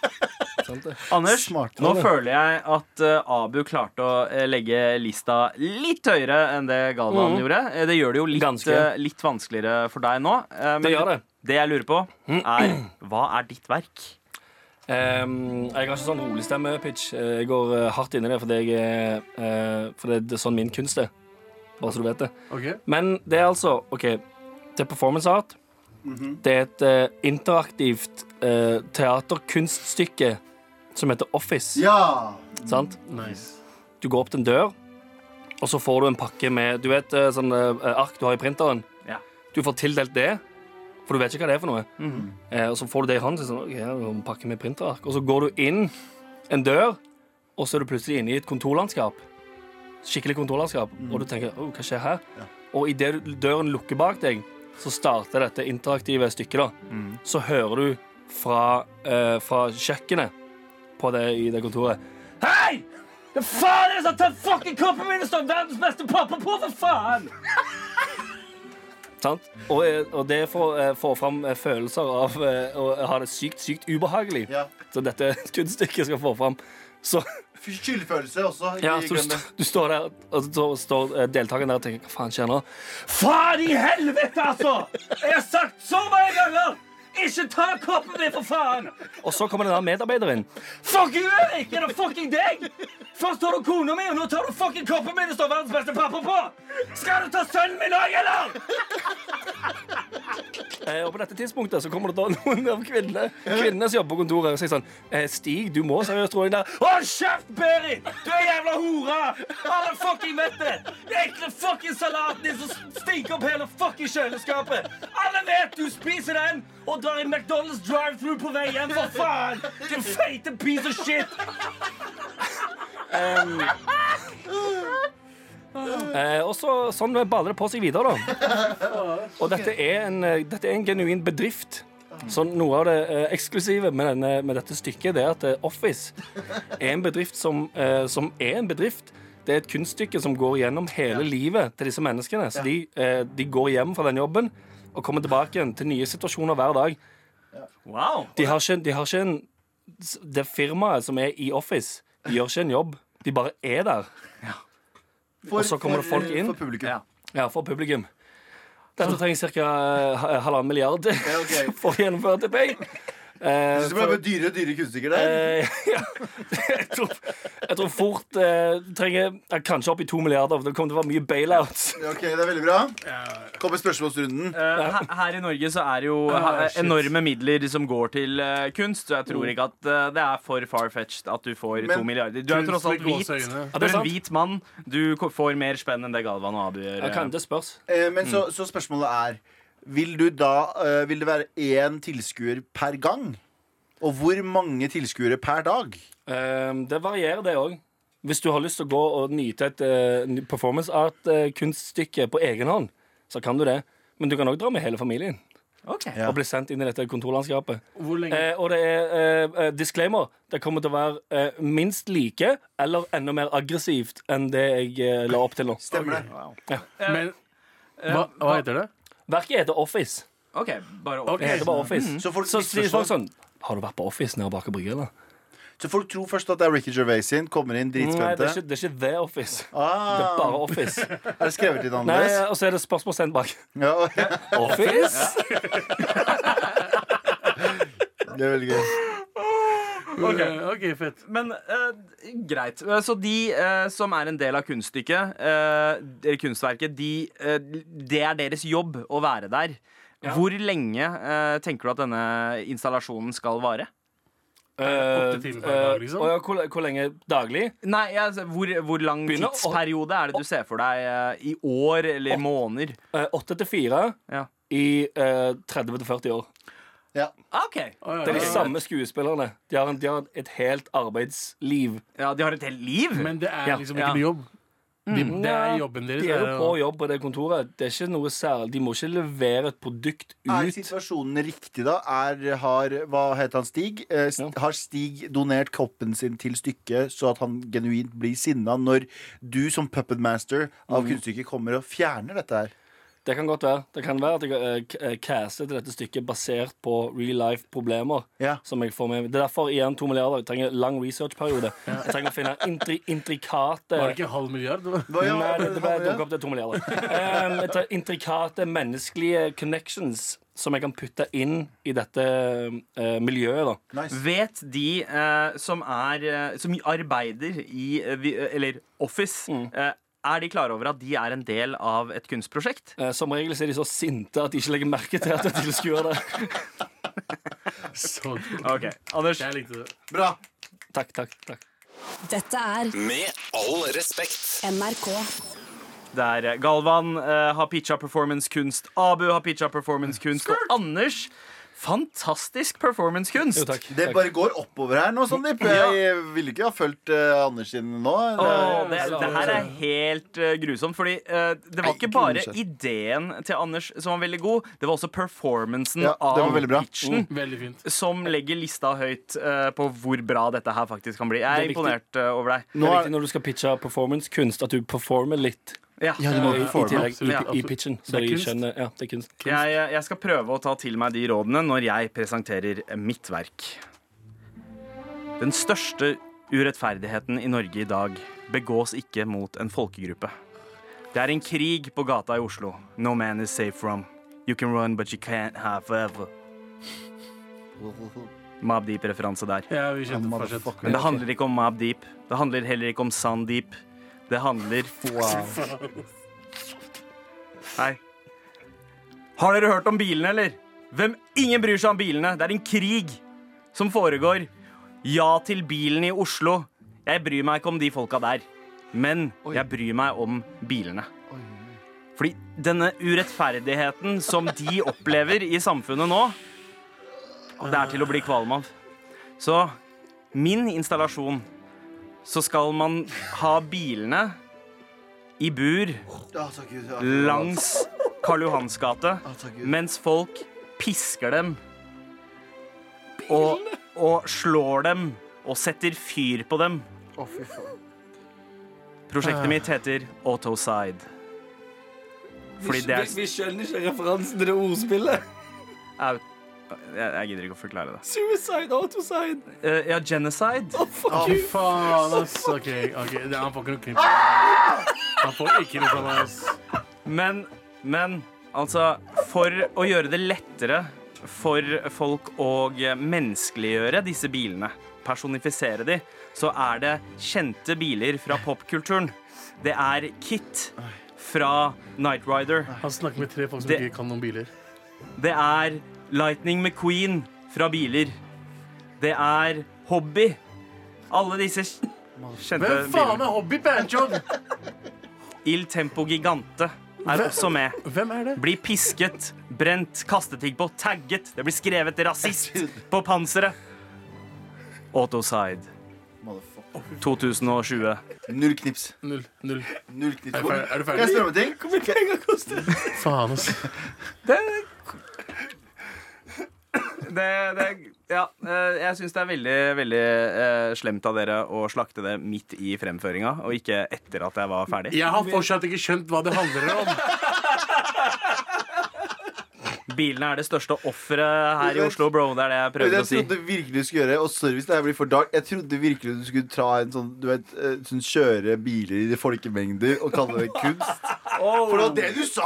Sant det?
Anders,
Smart,
nå
Abu.
føler jeg at eh, Abu klarte å eh, legge lista litt høyere enn det Galvan gjorde. Eh, Det gjør det jo litt,
Ganske.
eh, litt vanskeligere for deg nå. eh, Men
Det gjør det.
det jeg lurer på, er hva er ditt verk?
Ehm, jeg har ikke sånn roligstemme-pitch. Eh, Jeg går eh, hardt inn i det fordi, jeg, er, eh, fordi det er sånn min kunst er. Bare så du vet det.
Ok,
Men det er altså OK, det er performance art. Det er et eh, interaktivt eh, teaterkunststykke som heter Office.
Ja.
Sant?
nice
Du går opp til en dør, og så får du en pakke med Du vet eh, sånn eh, ark du har i printeren?
Ja.
Du får tildelt det, for du vet ikke hva det er for noe. eh, og så får du det i hånden, så er det sånn, ok, her er en pakke med printerark. Og så går du inn en dør, og så er du plutselig inne i et kontorlandskap. Skikkelig kontorlandskap. Og du tenker oh, hva skjer her? Og idet døren lukker bak deg, så starter dette interaktive stykket. da. Så hører du fra, eh, fra kjøkkenet på det, i det kontoret Hei! Hva faen er det som tar fucking koppen min og står verdens beste pappa på, for faen? Sant? Og, eh, og det får, eh, får fram eh, følelser av eh, å ha det sykt, sykt ubehagelig.
Ja.
Så dette kunststykket skal få fram. Så,
Skyldfølelse også.
ja, så du, st- du står der, og så står eh, deltakeren der og tenker Hva faen skjer nå? Faen i helvete, altså! Jeg har sagt så mange ganger! Ikke ta koppen min, for faen! Og så kommer den der medarbeideren. Fuck you, Erik! Er det fucking deg? Først tar du kona mi, og nå tar du fucking koppen min og står verdens beste pappa på! Skal du ta sønnen min òg, eller? Eh, Og på dette tidspunktet så kommer det da noen av kvinnene Kvinnene som jobber på kontoret og sier sånn eh, Stig, du må seriøst tro deg der Hold kjeft, Berit! Du er jævla hora! Alle fucking vet det! Det er ekle fucking salaten din som stinker opp hele fucking kjøleskapet Alle vet du spiser den Og drar i McDonalds drive-thru på vei hjem For faen! Din feite piece of shit Eh, og så, sånn baler det på seg videre, da. Og dette er en, eh, dette er en genuin bedrift. Så noe av det eh, eksklusive med, denne, med dette stykket, det er at eh, Office er en bedrift som, eh, som er en bedrift. Det er et kunststykke som går gjennom hele livet til disse menneskene. Så de, eh, de går hjem fra den jobben og kommer tilbake igjen til nye situasjoner hver dag.
Wow.
De har ikke, de har ikke en Det firmaet som er i Office, de gjør ikke en jobb. De bare er der. og så kommer det folk inn.
For publikum.
Ja.
Ja, for publikum. Dette trenger ca. halvannen milliard
ok.
for å gjennomføre til pay. Eh,
Så det ble
for,
bare dyrere og dyrere kunststykker der.
eh, ja. jeg, tror, jeg tror fort eh, du trenger ja, Kanskje opp i to milliarder. for Det kommer til å være mye bailouts.
Ja, Ok, det er veldig bra. Kommer spørsmålsrunden.
Eh, her, her i Norge så er det jo eh, enorme midler som går til eh, kunst, så jeg tror ikke at eh, det er for far-fetched at du får
Men
to milliarder. Du er jo tross alt hvit. Du
Ja, det
er
er
en
sant.
hvit mann. Du ko- får mer spenn enn det Galvan og Abu gjør.
Jeg kan, det spørs.
Eh, Men så,
Mm.
så spørsmålet er Vil du da eh, Vil det være én tilskuer per gang? Og hvor mange tilskuere per dag?
Eh, det varierer, det òg. Hvis du har lyst til å gå og nyte et eh, ny- performance art-kunststykke på egen hånd, så kan du det. Men du kan òg dra med hele familien
Ok.
Ja.
og bli sendt inn i dette kontorlandskapet.
Hvor lenge
Eh, og det er eh, eh, disclaimer. Det kommer til å være eh, minst like eller enda mer aggressivt enn det jeg eh, la opp til nå.
Stemmer det?
Eh, Men hva, hva heter det?
Verket heter Office.
Ok, bare
Det
over.
heter bare Office.
Så folk
Så sier folk
misforstår.
sånn Har du vært på Office nede bak og brygge, eller?
Så folk tror først at det er Ricky Gervais sin. Kommer inn
Nei, det
dritspente.
er, ikke, det er ikke The Office.
Ah.
Det er bare Office.
Er det skrevet litt
Nei,
annerledes?
Og så er det spørsmålstegn bak.
Ja, ok.
Office?
det er veldig gøy.
Eh, OK, fett.
Men eh, greit. Eh, Så de eh, som er en del av kunststykket, eh, eller kunstverket, de, eh, det er deres jobb å være der. Hvor lenge eh, tenker du at denne installasjonen skal vare?
Eh,
Åtte timer per dag, liksom.
eh, og ja, hvor, hvor lenge daglig?
Nei, altså, hvor, hvor lang
Begynner å-
tidsperiode er det du ser for deg eh, i år eller måneder?
Eh, Åtte til fire
Ja.
i eh, 30 til 40 år.
Ja.
OK.
Det er de samme skuespillerne. De har, en, de har et helt arbeidsliv.
Ja, de har et helt liv.
Men det er
Ja,
liksom
ja.
ikke noe jobb. De, det er
Nei,
jobben deres.
De er
er
jo
å-
på jobb på det kontoret. Det er ikke noe særlig. De må ikke levere et produkt
Er
ut.
situasjonen riktig, da? Er, har, hva heter han Stig? Eh, st
Ja.
Har Stig donert koppen sin til stykket, så at han genuint blir sinna når du som puppetmaster
Mm.
av kunststykket kommer og fjerner dette her?
Det kan godt være. Det kan være at jeg eh, k- eh, caster til dette stykket basert på real life problemer.
Ja.
Som jeg får med. Det er derfor igjen to milliarder. Jeg trenger lang researchperiode. Jeg trenger å finne intri, intrikate
Var det ikke en halv milliard?
Hva, ja,
Nei, det ble
han- ja.
dukket opp til to milliarder. Um, jeg tar intrikate menneskelige connections som jeg kan putte inn i dette eh, miljøet. da
Nice.
Vet de eh, som er eh, Som arbeider i eh, vi- Eller Office eh, Er de klare over at de er en del av et kunstprosjekt?
Eh, Som regel så er de så sinte at de ikke legger merke til at det er tilskuere der.
Så kult.
Ok, Anders
Jeg likte det.
Bra.
Takk, takk, takk.
Dette er
Med all respekt.
NRK.
Der eh, Galvan eh, har pitcha performancekunst Abu har pitcha performancekunst Og Anders Fantastisk performancekunst
Jo, takk.
Det
takk.
bare går oppover her nå, Sandeep. Jeg ville ikke ha fulgt eh, Anders sin nå.
Åh, det,
Eller-
det her er helt eh, grusomt, fordi eh, det var
Nei,
ikke
ikke
bare
grusomt.
ideen til Anders som var veldig god, det var også performancen
Ja, det var
av
veldig bra. Mm.
pitchen.
Veldig fint.
som legger lista høyt eh, på hvor bra dette her faktisk kan bli. Jeg
Det
er
er
imponert eh, over deg.
Det
Nå
er
er-
viktig når du skal pitche performancekunst, at du performer litt
Ja.
Ja, du må
eh, i
performe,
tillegg i,
absolutt.
i pitchen.
Det
Så
er
de
kunst.
skjønner Ja, det er kunst.
Jeg, jeg skal prøve å ta til meg de rådene når jeg presenterer mitt verk. Den største urettferdigheten i Norge i dag begås ikke mot en folkegruppe. Det er en krig på gata i Oslo. No man is safe from. You can run, but you can't have forever. Mobb Deep-referanse der.
Ja, vi kjente
Ah,
fortsett.
motherfucker.
Men det handler ikke om Mobb Deep. Det handler heller ikke om Sandeep. Det handler
Wow.
Hei. Har dere hørt om bilene, eller? Hvem Ingen bryr seg om bilene. Det er en krig som foregår. Ja til bilen i Oslo. Jeg bryr meg ikke om de folka der. Men jeg bryr meg om bilene. Fordi denne urettferdigheten som de opplever i samfunnet nå, det er til å bli kvalm av. Så min installasjon så skal man ha bilene i bur
Ah, takk Gud, ja.
langs Karl Johans gate
Ah, takk Gud.
mens folk pisker dem og, og slår dem og setter fyr på dem.
Å, fy faen. Ah.
Prosjektet mitt heter Autoside. Fordi det er
skjønner ikke referansen til det ordspillet.
au- Jeg, jeg gidder ikke å forklare det.
Suicide, autoside.
Eh, ja, genocide.
Å, fy faen, ass. OK, ok. Det- han får ikke noe knips. Han får ikke noe fra meg, ass.
Men, men altså For å gjøre det lettere for folk å menneskeliggjøre disse bilene, personifisere de, så er det kjente biler fra popkulturen. Det er Kit fra Night Rider.
Han snakker med tre folk som
Det-
ikke kan noen biler.
Det er Lightning McQueen fra biler. Det er Hobby. Alle disse kjente
Hvem faen
bilene.
er Hobby Banjob?
Il Tempo Gigante er også med.
Hvem er det?
Blir pisket, brent, kastet ting på, tagget. Det blir skrevet rasist på panseret. Autoside
Motherfucker.
2020.
Null knips.
Null. Null.
Null knips.
Er du ferdig? Er du
Kan
ferdig?
jeg spørre om en ting?
Faen, ass.
Det, det, ja, eh, jeg syns det er veldig veldig eh, slemt av dere å slakte det midt i fremføringa, og ikke etter at jeg var ferdig.
Jeg har fortsatt ikke skjønt hva det handler om.
bilene er det største offeret her i Oslo, bro. Det er det jeg
Men
prøver å
jeg
si.
trodde virkelig du skulle gjøre Og service det her blir for dark Jeg trodde virkelig du skulle ta en sånn Du vet, eh, sånn kjøre biler i folkemengder Og kalle det kunst For det var det du sa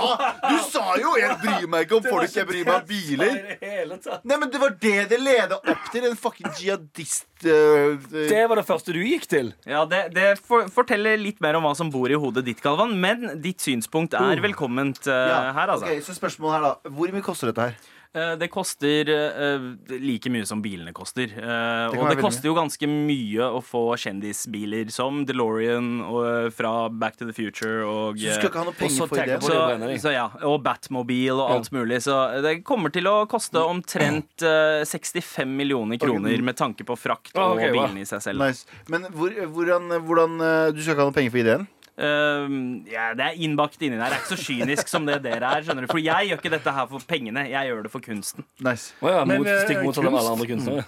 Du sa jo, jeg bryr meg ikke om folk Jeg bryr meg om biler Nei, men det var det det ledet opp til En fucking jihadist eh, eh,
Det var det første du gikk til.
Ja, Det, det for, forteller litt mer om hva som bor i hodet ditt, Galvan. Men ditt synspunkt er velkomment eh,
Oh. ja.
her, altså.
Ok, så spørsmålet her da Hvor mye koster dette her?
Eh, Det koster eh, like mye som bilene koster. Eh, og
være
det
veldig
koster jo ganske mye å få kjendisbiler som DeLorean og, eh, fra Back to the Future og eh,
Så du skal ikke ha noe
så
penger for
tenker
det
jeg på
så,
det brenner i.
så ja, Og Batmobile og alt mulig. Så eh, det kommer til å koste omtrent eh, 65 millioner kroner med tanke på frakt
Ah,
og
ok, wow.
bilene i seg selv.
Nice. Men hvor, hvordan, hvordan eh, Du skal ikke ha noe penger for ideen?
Ehm, ja, det er innbakt inni der. Det er ikke så kynisk som det dere er. skjønner du For jeg gjør ikke dette her for pengene, jeg gjør det for kunsten.
Nice
Å ja,
Men,
mot,
eh,
stikk motsatt av
kunst?
alle andre kunstnere.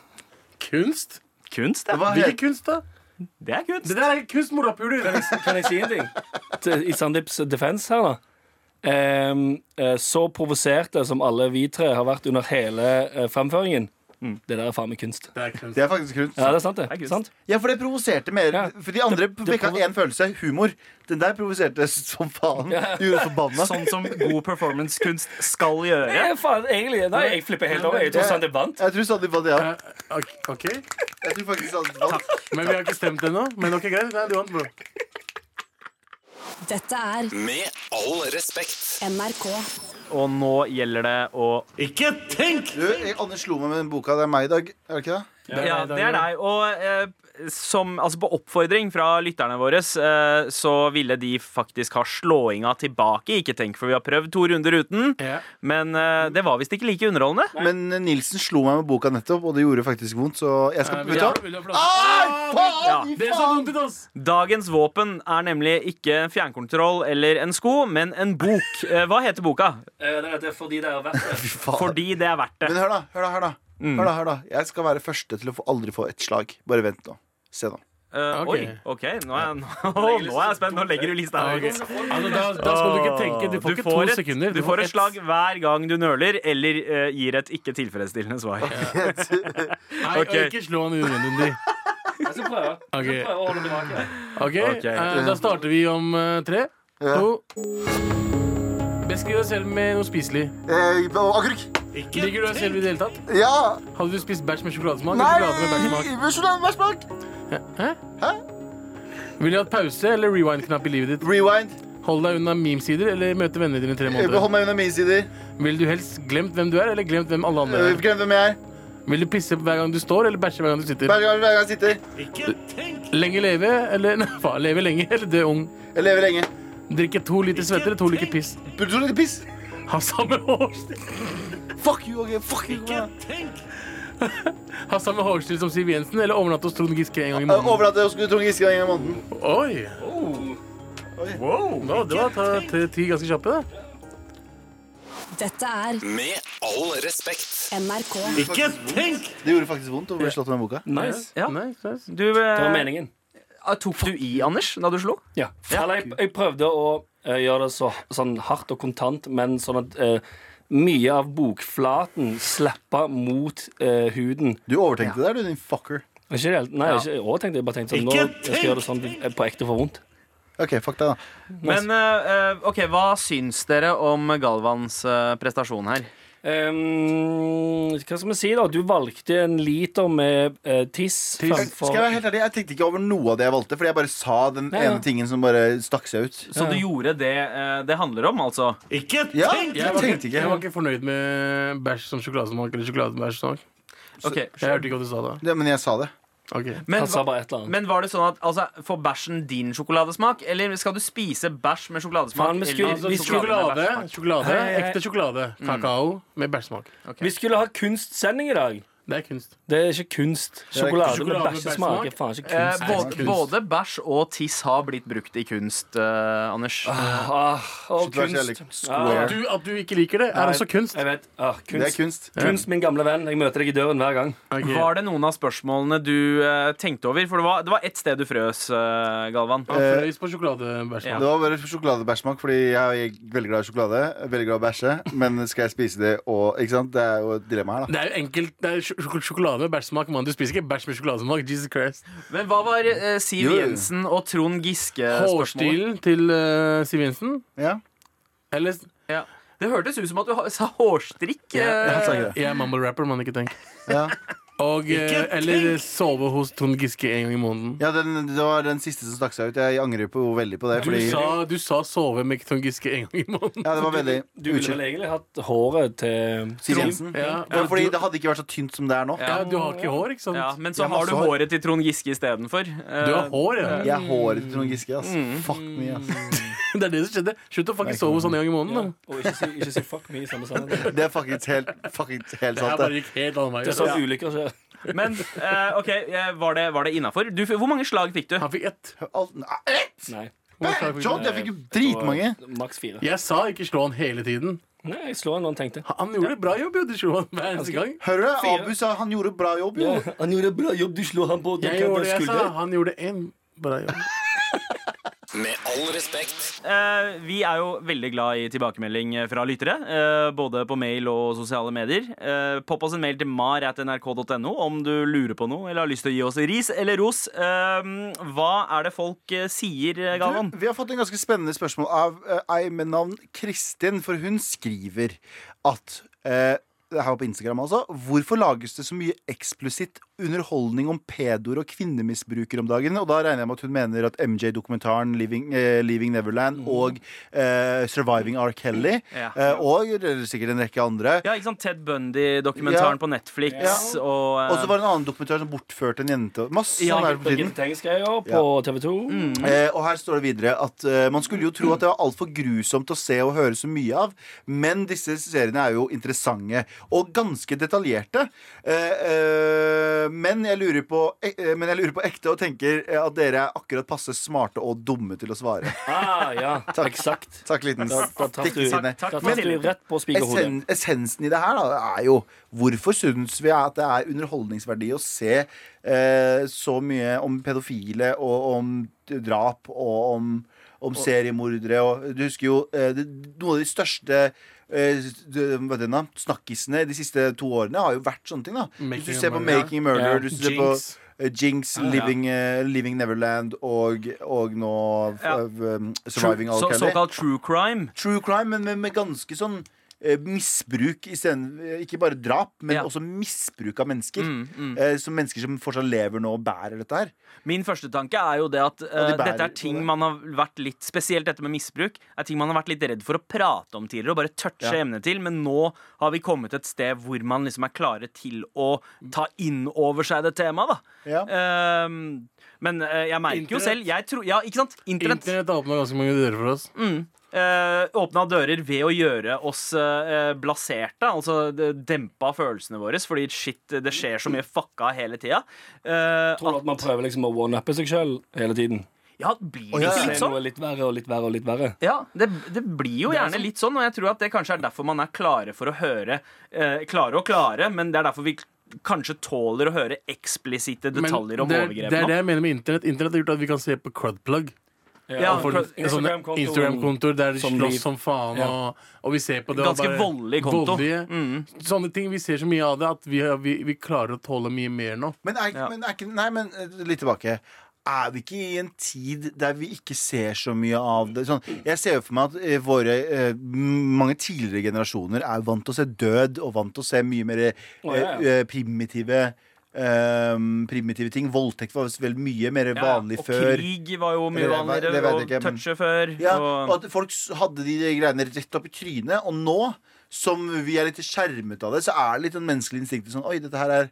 Kunst?
Kunst, ja.
Hva
Hvilken
heter
kunst, da?
Det er kunst.
Det der er kunst, morapuler.
Kan jeg si en ting? Til, I Sandeeps defense her, da. Ehm, eh, så provoserte som alle vi tre har vært under hele eh, framføringen. Det der er faen meg kunst.
Det er kunst.
Det er faktisk kunst
Ja, det er sant, Mm. det.
er kunst.
sant?
Ja, for det provoserte mer.
Ja.
For de andre vekka
provo-
én følelse humor. Den der provoserte som faen. Gjorde forbanna.
Sånn som god performancekunst skal gjøre.
Eh, faen, egentlig, nei, jeg flipper helt over. Jeg tror Sandeep vant.
Jeg tror Sandeep vant, ja.
Eh, ok- OK.
Jeg tror faktisk Sandeep vant.
Men vi har ikke stemt ennå. Men ok, greit. Nei, du vant, bro.
Dette er
Med all respekt.
NRK.
Og nå gjelder det å
Ikke tenk!
Du, jeg- Anders slo meg med den boka. Det er meg i dag, er det ikke det?
Ja, det er deg. Og eh, som, altså på oppfordring fra lytterne våre eh, så ville de faktisk ha slåinga tilbake. Ikke tenk, for vi har prøvd to runder uten.
Ja.
Men eh, det var visst ikke like underholdende.
Men eh, Nilsen slo meg med boka nettopp, og det gjorde faktisk vondt, så jeg skal
Vil
Vet du
du ha-
hva?
vil du ha
Ai,
plass?
faen, i
Det er så
faen!
vondt ut, ass!
Dagens våpen er nemlig ikke en fjernkontroll eller en sko, men en bok. Eh, Hva heter boka?
Eh, Det er fordi det er verdt det.
faen.
Fordi det er verdt det.
Men hør, da. Hør, da. Hør, da. Hør, da. Hør, da. Jeg skal være første til å få, aldri få et slag. Bare vent nå. Se nå.
Eh,
Ok.
Oi, OK. Nå er, jeg- nå, nå er jeg spent. Nå legger du lista her.
Ok. Altså, da, da skal du ikke tenke. Du får ikke to
et,
sekunder.
Du får et
ett.
slag hver gang du nøler eller eh, gir et ikke tilfredsstillende svar.
Nei, og
Ok.
ikke slå han unødvendig.
Jeg skal prøve.
Ok,
Jeg prøver å holde tilbake.
ok,
Ok.
eh, Da starter vi om eh, tre, to Beskriv deg selv med noe spiselig.
Eh, agurk.
Liker du deg selv i det hele tatt?
Ja.
Hadde du spist bæsj med sjokoladesmak?
Nei!
eller Sjokolade med bæsjsmak?
Sjokolade med bæsjsmak.
Vil du ha et pause eller rewind-knapp i livet ditt?
Rewind.
Hold deg unna memesider eller møte vennene dine i tre måneder?
Hold meg unna mine sider.
Vil du helst glemt hvem du er, eller glemt hvem alle andre
Eh,
er?
Glem hvem jeg er.
Vil du pisse hver gang du står, eller bæsje hver gang du sitter?
Hver gang, hver gang jeg sitter.
Lenge leve, eller Nei, faen, leve lenge, eller dø ung?
Jeg lever lenge.
Drikke to liter svette eller to liter piss?
Burde du litt piss?
Ha samme hårstil
Fuck you, okay. Fuck you. man.
Ha samme hårstil som Siv Jensen, eller overnatte hos Trond Giske en gang
Eh,
i måneden?
Overnatte hos Trond Giske en gang i måneden.
Oi! Wow, nå, det var ta- ti ti ganske kjappe, da.
Dette er
Med all respekt.
NRK.
Ikke tenk!
Det gjorde faktisk vondt å bli slått med boka.
Nice.
Ja.
Nice, nice.
Du,
Det var
eh,
meningen.
tok du i, Anders, da du slo?
Ja. Eller, jeg, jeg prøvde å eh, gjøre det så sånn hardt og kontant, men sånn at eh, mye av bokflaten slappa mot eh, huden.
Du overtenkte det, du, din fucker.
Ikke det helt, nei, ikke overtenkte, jeg bare tenkte sånn, nå jeg skal jeg gjøre det sånn eh, på ekte for vondt.
OK, fuck deg, da.
Men eh, eh, OK, hva syns dere om Galvans eh, prestasjon her?
Ehm, hva skal vi si, da? Du valgte en liter med eh, tiss.
Jeg, skal
Framfor,
jeg være helt ærlig, jeg tenkte ikke over noe av det jeg valgte, fordi jeg bare sa den
Ja, ja.
ene tingen som bare stakk seg ut.
Så du gjorde det eh, det handler om, altså?
Ja,
Jeg
jeg
var,
tenkte
ikke, jeg var
ikke
ikke fornøyd med bæsj som sjokoladesmak. Eller sjokoladebæsjsmak
Ok.
Jeg hørte ikke hva du sa da.
ja, Men jeg sa det.
Ok
Men,
Han sa
hva-
bare et eller annet.
men var det sånn at altså, får bæsjen din sjokoladesmak, eller skal du spise bæsj med sjokoladesmak?
Faen, vi skulle-
eller
Altså,
med
Sjokolade, Eh, mm.
bæsjsmak?
sjokolade
Hei, hei.
ekte sjokolade. Kakao med bæsjsmak.
Vi skulle ha kunstsending i dag.
Det er kunst.
Det er ikke kunst. Sjokolade med bæsjesmak er faen ikke
Eh,
kunst.
både,
Kunst.
både bæsj og tiss har blitt brukt i kunst, eh, Anders.
Ah, og
Kontroversielle
kunst.
square.
At du, at du ikke liker det, er
Nei,
også kunst.
Jeg vet. Ah, kunst.
Det er kunst.
Kunst, min gamle venn. Jeg møter deg i døren hver gang.
Ok.
Var det noen av spørsmålene du eh, tenkte over? For det var, det var ett sted du frøs, eh, Galvan.
Han frøys på sjokoladebæsj.
Ja.
Det var bare sjokoladebæsjsmak, fordi jeg er veldig glad i sjokolade. Veldig glad i å bæsje. Men skal jeg spise det og Ikke sant? Det er jo et dilemma her, da.
Det er jo enkelt. Det er sjok sjok- sjokolade med bæsjsmak. mann. Du spiser ikke bæsj med sjokoladesmak. Jesus Christ.
Men hva var eh, Siv
Jo.
Jensen og Trond Giske-spørsmålet?
Hårstilen til eh, Siv Jensen
Ja.
Eller
Ja. Det hørtes ut som at du ha- sa hårstrikk.
han sa
eh,
ikke det.
Jeg er mumble rapper, man. Ikke tenk.
Ja.
Og, eh, eller sove hos Trond Giske en gang i måneden.
ja, den, det var den siste som stakk seg ut. Jeg angrer på veldig på det.
Du
Fordi
sa, du sa sove med Trond Giske en gang i måneden.
Ja, det var veldig
Du ville vel
Unnskyld.
egentlig hatt håret til
Siv Jensen.
Ja,
Ja,
og
fordi
du,
det hadde ikke vært så tynt som det er nå.
ja, du har ikke hår, ikke sant?
ja, men så
Jeg har
har du
masse hår.
håret til Trond Giske istedenfor. Eh,
Du har hår, ja.
Jeg er håret til Trond Giske, ass. Fuck me, ass.
Det er det som skjedde. Slutt å fucking sove hos han en gang i måneden. da.
Og ikke si, ikke si fuck me i samme sammenheng.
Det er faktisk helt, fucking helt
Det her
sant.
bare
Det.
gikk helt annen vei.
Det er sånn ulykker skjer.
Men eh, OK, eh, var det, var det innafor? Hvor mange slag fikk du?
Han fikk ett.
Alt- Nei, ett!
Nei.
John, jeg fikk jo dritmange.
Og Maks fire.
Jeg sa ikke slå han hele tiden.
Nei, jeg slår når han tenkte.
Han gjorde det bra jobb, jo. Du slo han hver eneste gang.
Hører du? Abu sa han gjorde bra jobb, jo.
Han gjorde bra jobb, du slo han på
Jeg gjorde det jeg sa. Han gjorde én bra jobb.
Med all respekt.
Eh, vi er jo veldig glad i tilbakemelding fra lyttere, eh, både på mail og sosiale medier. Eh, popp oss en mail til mar.nrk.no om du lurer på noe eller har lyst til å gi oss ris eller ros. Eh, hva er det folk eh, sier, eh, Galvan?
Du, vi har fått en ganske spennende spørsmål av eh, ei med navn Kristin, for hun skriver at eh, det her var på Instagram altså Hvorfor lages det så mye eksplisitt underholdning om pedoer og kvinnemisbrukere om dagen? Og da regner jeg med at hun mener at MJ-dokumentaren 'Leaving, eh, Leaving Neverland' og eh, 'Surviving R. Kelly'
Mm. Ja.
eh, og eh, sikkert en rekke andre
Ja, ikke sant? Ted Bundy-dokumentaren
Ja.
på Netflix.
Ja.
Og, eh,
Og så var det en annen dokumentar som bortførte en jente. og- Masse
Ja,
sånn her på tiden.
Birgitte Tengs-greier på TV 2.
Eh, og her står det videre at eh, man skulle jo tro at det var altfor grusomt å se og høre så mye av, men disse seriene er jo interessante og ganske detaljerte. Eh, eh, men, jeg lurer på, eh, eh, men jeg lurer på ekte og tenker eh, at dere er akkurat passe smarte og dumme til å svare.
Ah, ja,
Takk.
eksakt.
Takk, liten
Da, da traff du,
stikkeside.
da traff
Men-
du rett på spikerhodet.
Essen, essensen i det her da, er jo hvorfor syns vi at det er underholdningsverdi å se eh, så mye om pedofile og om drap og om, om seriemordere og Du husker jo eh, det, noen av de største eh, s- de- hva heter den da, snakkisene de siste to årene har jo vært sånne ting. da
Making
Hvis du ser
a
på
Murderer.
Making a Murder,
Ja,
du ser på
Jinx.
eh, Jinx, Living, eh, Living Neverland og, og nå f-
Ja.
um, Surviving All
så,
Kelly
såkalt true crime.
true crime, men med, med ganske sånn eh, misbruk i stedet- eh, Ikke bare drap, men
Ja. Mm,
også misbruk av mennesker. Eh, som mennesker som fortsatt lever nå og bærer dette her.
Min første tanke er jo det at
bærer
eh, dette
på
er ting
det.
man har vært litt Spesielt dette med misbruk er ting man har vært litt redd for å prate om tidligere og bare touche
Ja.
emnet til, men nå har vi kommet et sted hvor man liksom er klare til å ta inn over seg det temaet, da.
Ja.
Ehm, men eh, jeg merker jo
Internett.
selv jeg tror, Ja, ikke sant? Internett.
Internett har åpna ganske mange dører for
Mm.
oss.
eh, åpna dører ved å gjøre oss eh, blaserte, altså det- dempa følelsene våre, fordi shit, det skjer så mye fucka hele tida. Eh,
Tror du at man prøver liksom å one-uppe seg sjøl hele tiden?
ja, det blir
ja,
ikke
ja.
litt
Se noe
sånn?
litt verre og litt verre og litt verre.
Ja, det, det blir jo gjerne litt sånn, og jeg tror at det kanskje er derfor man er klare for å høre eh, Klare og klare, men det er derfor vi k- kanskje tåler å høre eksplisitte
Men
detaljer om
det, er- det er det
overgrepene.
jeg mener med internett. Internett har gjort at vi kan se på crudplug.
Ja,
For
Crud-
sånne
Instagram-kontoen
Instagram-kontoer der de
som
slåss
vi-
som faen,
Ja.
og, og vi ser på det. og
Ganske
bare-
voldelig konto. Mm.
voldelige. Sånne ting. Vi ser så mye av det at vi, vi, vi klarer å tåle mye mer nå.
Men er,
Ja.
men er ikke Nei, men eh, litt tilbake. Er vi ikke i en tid der vi ikke ser så mye av det? Sånn, jeg ser jo for meg at eh, våre eh, mange tidligere generasjoner er vant til å se død, og vant til å se mye mer eh,
Å, ja, ja.
eh, primitive eh, primitive ting. Voldtekt var vel mye mer
Ja,
vanlig
og
før.
krig var jo mye
Eller, jeg vet-
vanligere,
det vet jeg
og
ikke, men-
touche før.
Ja,
og-
og at folk s- hadde de de greiene rett opp i trynet. Og nå som vi er litt skjermet av det, så er det litt den menneskelige instinktet sånn Oi, dette her er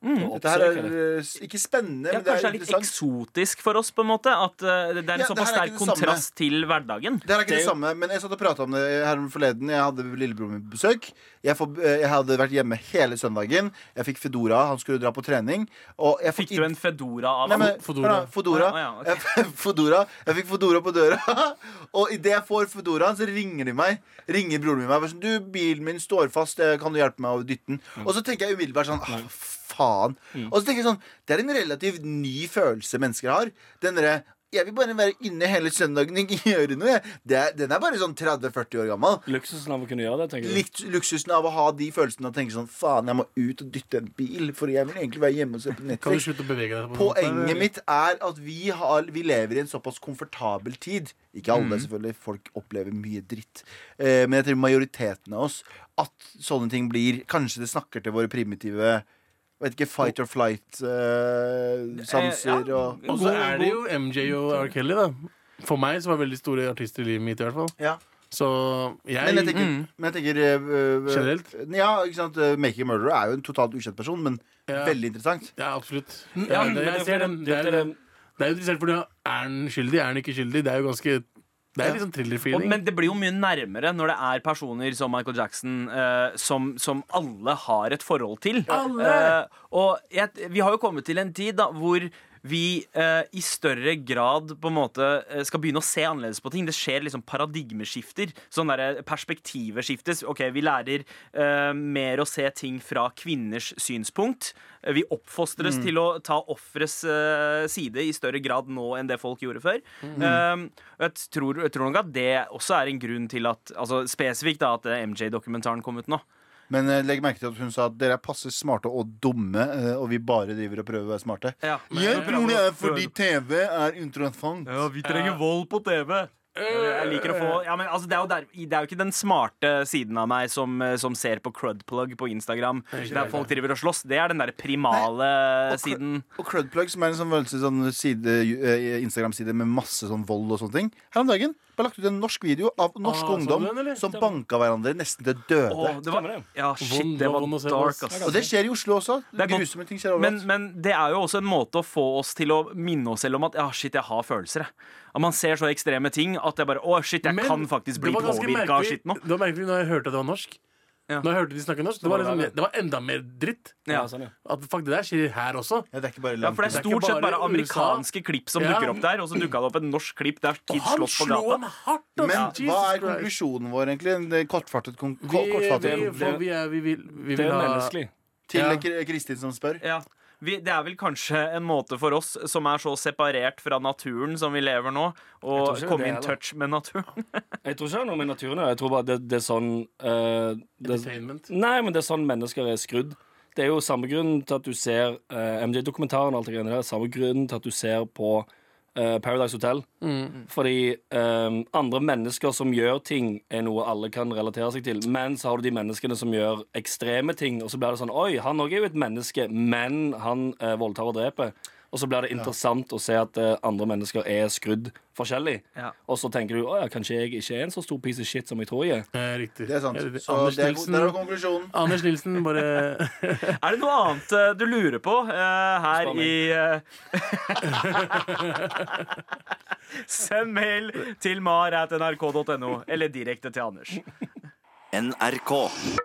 Dette her er eh, ikke spennende,
Mm. Ja,
men det er
kanskje det er litt
interessant.
eksotisk for oss, på en måte. At eh, det er en
Ja, det
såpass
her er ikke
sterk
det samme.
kontrast til hverdagen.
Det her er ikke det,
Det er jo-
samme, men jeg satt og prata om det her om forleden. Jeg hadde lillebroren min på besøk. Jeg, får- eh, jeg hadde vært hjemme hele søndagen. Jeg fikk Fedora, han skulle dra på trening. Og jeg
Fikk du en fedora av
Nei, men,
han?
Fodora.
hør da, Fodora.
Å, ja, ok.
Jeg- Fodora. Jeg fikk Fodora på døra. Og idet jeg får Fodoraen, så ringer de meg. Ringer broren min meg. og er Sånn, du, bilen min står fast. eh, Kan du hjelpe meg å dytte den?
Mm.
Og så tenker jeg umiddelbart sånn «Ah, Faen. Og så tenker jeg sånn Det er en relativt ny følelse mennesker har. Den derre jeg vil bare være inne hele søndagen og ikke gjøre noe. Jeg. Det er, den er bare sånn 30-40 år gammel.
Luksusen av å kunne gjøre det, tenker du.
Litt luksusen av å ha de følelsene og tenke sånn Faen, jeg må ut og dytte en bil, for jeg vil egentlig være hjemme og se på Netflix.
Kan du slutte å bevege deg? på sånn? en måte?
Poenget mitt er at vi, har, vi lever i en såpass komfortabel tid. Ikke alle, selvfølgelig. Folk opplever mye dritt. Eh, men jeg tror majoriteten av oss at sånne ting blir Kanskje det snakker til våre primitive Vet ikke, fight or flight-sanser
Eh, ja.
og
Og så er det jo MJ og R. Kelly, da. For meg som er veldig store artister i livet mitt, i hvert fall.
ja.
Så jeg, Mm.
Men jeg tenker, men jeg tenker eh, eh,
Generelt?
Ja, ikke sant. eh, Making a murderer er jo en totalt ukjent person, men
Ja.
veldig interessant.
Ja, absolutt.
Ja,
Ja, det,
men
jeg ser den. Det er,
det er-
det er jo interessant, for er han skyldig, er han ikke skyldig? Det er jo ganske Det er litt sånn
Og,
thriller-feeling.
men det blir jo mye nærmere når det er personer som Michael Jackson eh, som, som alle har et forhold til. Eh, og jeg, vi har jo kommet til en tid da, hvor vi eh, i større grad på en måte eh, skal begynne å se annerledes på ting. Det skjer liksom paradigmeskifter. Sånn der perspektivet skiftes. Ok, Vi lærer eh, mer å se ting fra kvinners synspunkt. Eh, Vi oppfostres
Mm.
til å ta offerets eh, side i større grad nå enn det folk gjorde før.
Mm.
Eh, og jeg, tror, jeg tror nok at det også er en grunn til at altså spesifikt da, at eh, MJ-dokumentaren kom ut nå.
Men eh, legg merke til at hun sa at dere er passe smarte og dumme, eh, og vi bare driver og prøver å være smarte.
Ja.
Jeg tror det er fordi TV er interessant.
vi trenger vold på TV.
Øh.
Jeg liker å få ja, men altså, det, er jo der, det er jo ikke den smarte siden av meg som, eh, som ser på crudplug på Instagram. Der folk driver og slåss. Det er den der primale siden.
Og Crudplug, som er en sånn, voldsom sånn side, eh, Instagram-side med masse sånn vold og sånne ting. Her om dagen ble lagt ut en norsk video av norsk
Ah, så
ungdom
du den, eller?
som banka hverandre nesten til døde.
Åh, det var,
Stemmer det.
ja, shit,
Vond-
det var
vond å se på,
dark,
ass.
ass.
og det skjer i Oslo også.
Det er godt.
Grusomme ting skjer
Men,
overalt.
men det er jo også en måte å få oss til å minne oss selv om at ja, shit, jeg har følelser. Jeg. At man ser så ekstreme ting at jeg bare Å, shit, jeg
Men
kan faktisk bli
det var ganske
påvirka av
merkelig-
shit nå.
Det var merkelig når jeg hørte at det var norsk.
Ja.
Når jeg hørte de snakke norsk Det var,
var det
liksom,
verre.
det var enda mer dritt.
Ja.
Ja, sånn, ja.
At fuck, det der skjer her også.
ja, det er ikke bare
Ja,
langt
for det er
Det er ikke
stort sett bare
bare USA.
amerikanske klipp som
Ja.
dukker opp der, og så dukka det opp et norsk klipp der
Og
kids
han
slåss på
slo
gata.
han hardt! altså.
Men
Jesus
hva er
Christ.
konklusjonen vår, egentlig? En eh, kortfattet kon
Vi,
kortfattet
vi,
konklusjon.
for vi, er, vi vil, vi
Det er
vil ha
menneskelig.
Til
Ja.
Kr- Kristin som spør.
Ja. Vi, det er vel kanskje en måte for oss som er så separert fra naturen som vi lever nå, å
tror ikke det er
komme
det,
in
eller?
touch med naturen.
Jeg tror ikke det er noe med naturen å gjøre. Jeg tror bare det, det er sånn eh, det,
entertainment.
Nei, men det er sånn mennesker er skrudd. Det er jo samme grunnen til at du ser eh, MJ-dokumentaren og alt det greiene der. Samme grunnen til at du ser på eh, Paradise Hotel. Fordi eh, andre mennesker som gjør ting, er noe alle kan relatere seg til. Men så har du de menneskene som gjør ekstreme ting, og så blir det sånn Oi, han òg er jo et menneske, men han eh, voldtar og dreper. Og så blir det interessant å se at eh, andre mennesker er skrudd forskjellig.
Ja.
Og så tenker du å ja, kanskje jeg ikke er en så stor piece of shit som jeg tror jeg er.
Eh, riktig.
Det er sant.
Ja, det-
Så
Anders,
det er,
Nilsen,
der er konklusjonen.
Anders Nilsen, bare
Er det noe annet eh, du lurer på eh, her
Spør meg.
i eh, Send mail til mar.nrk.no, eller direkte til Anders.
NRK.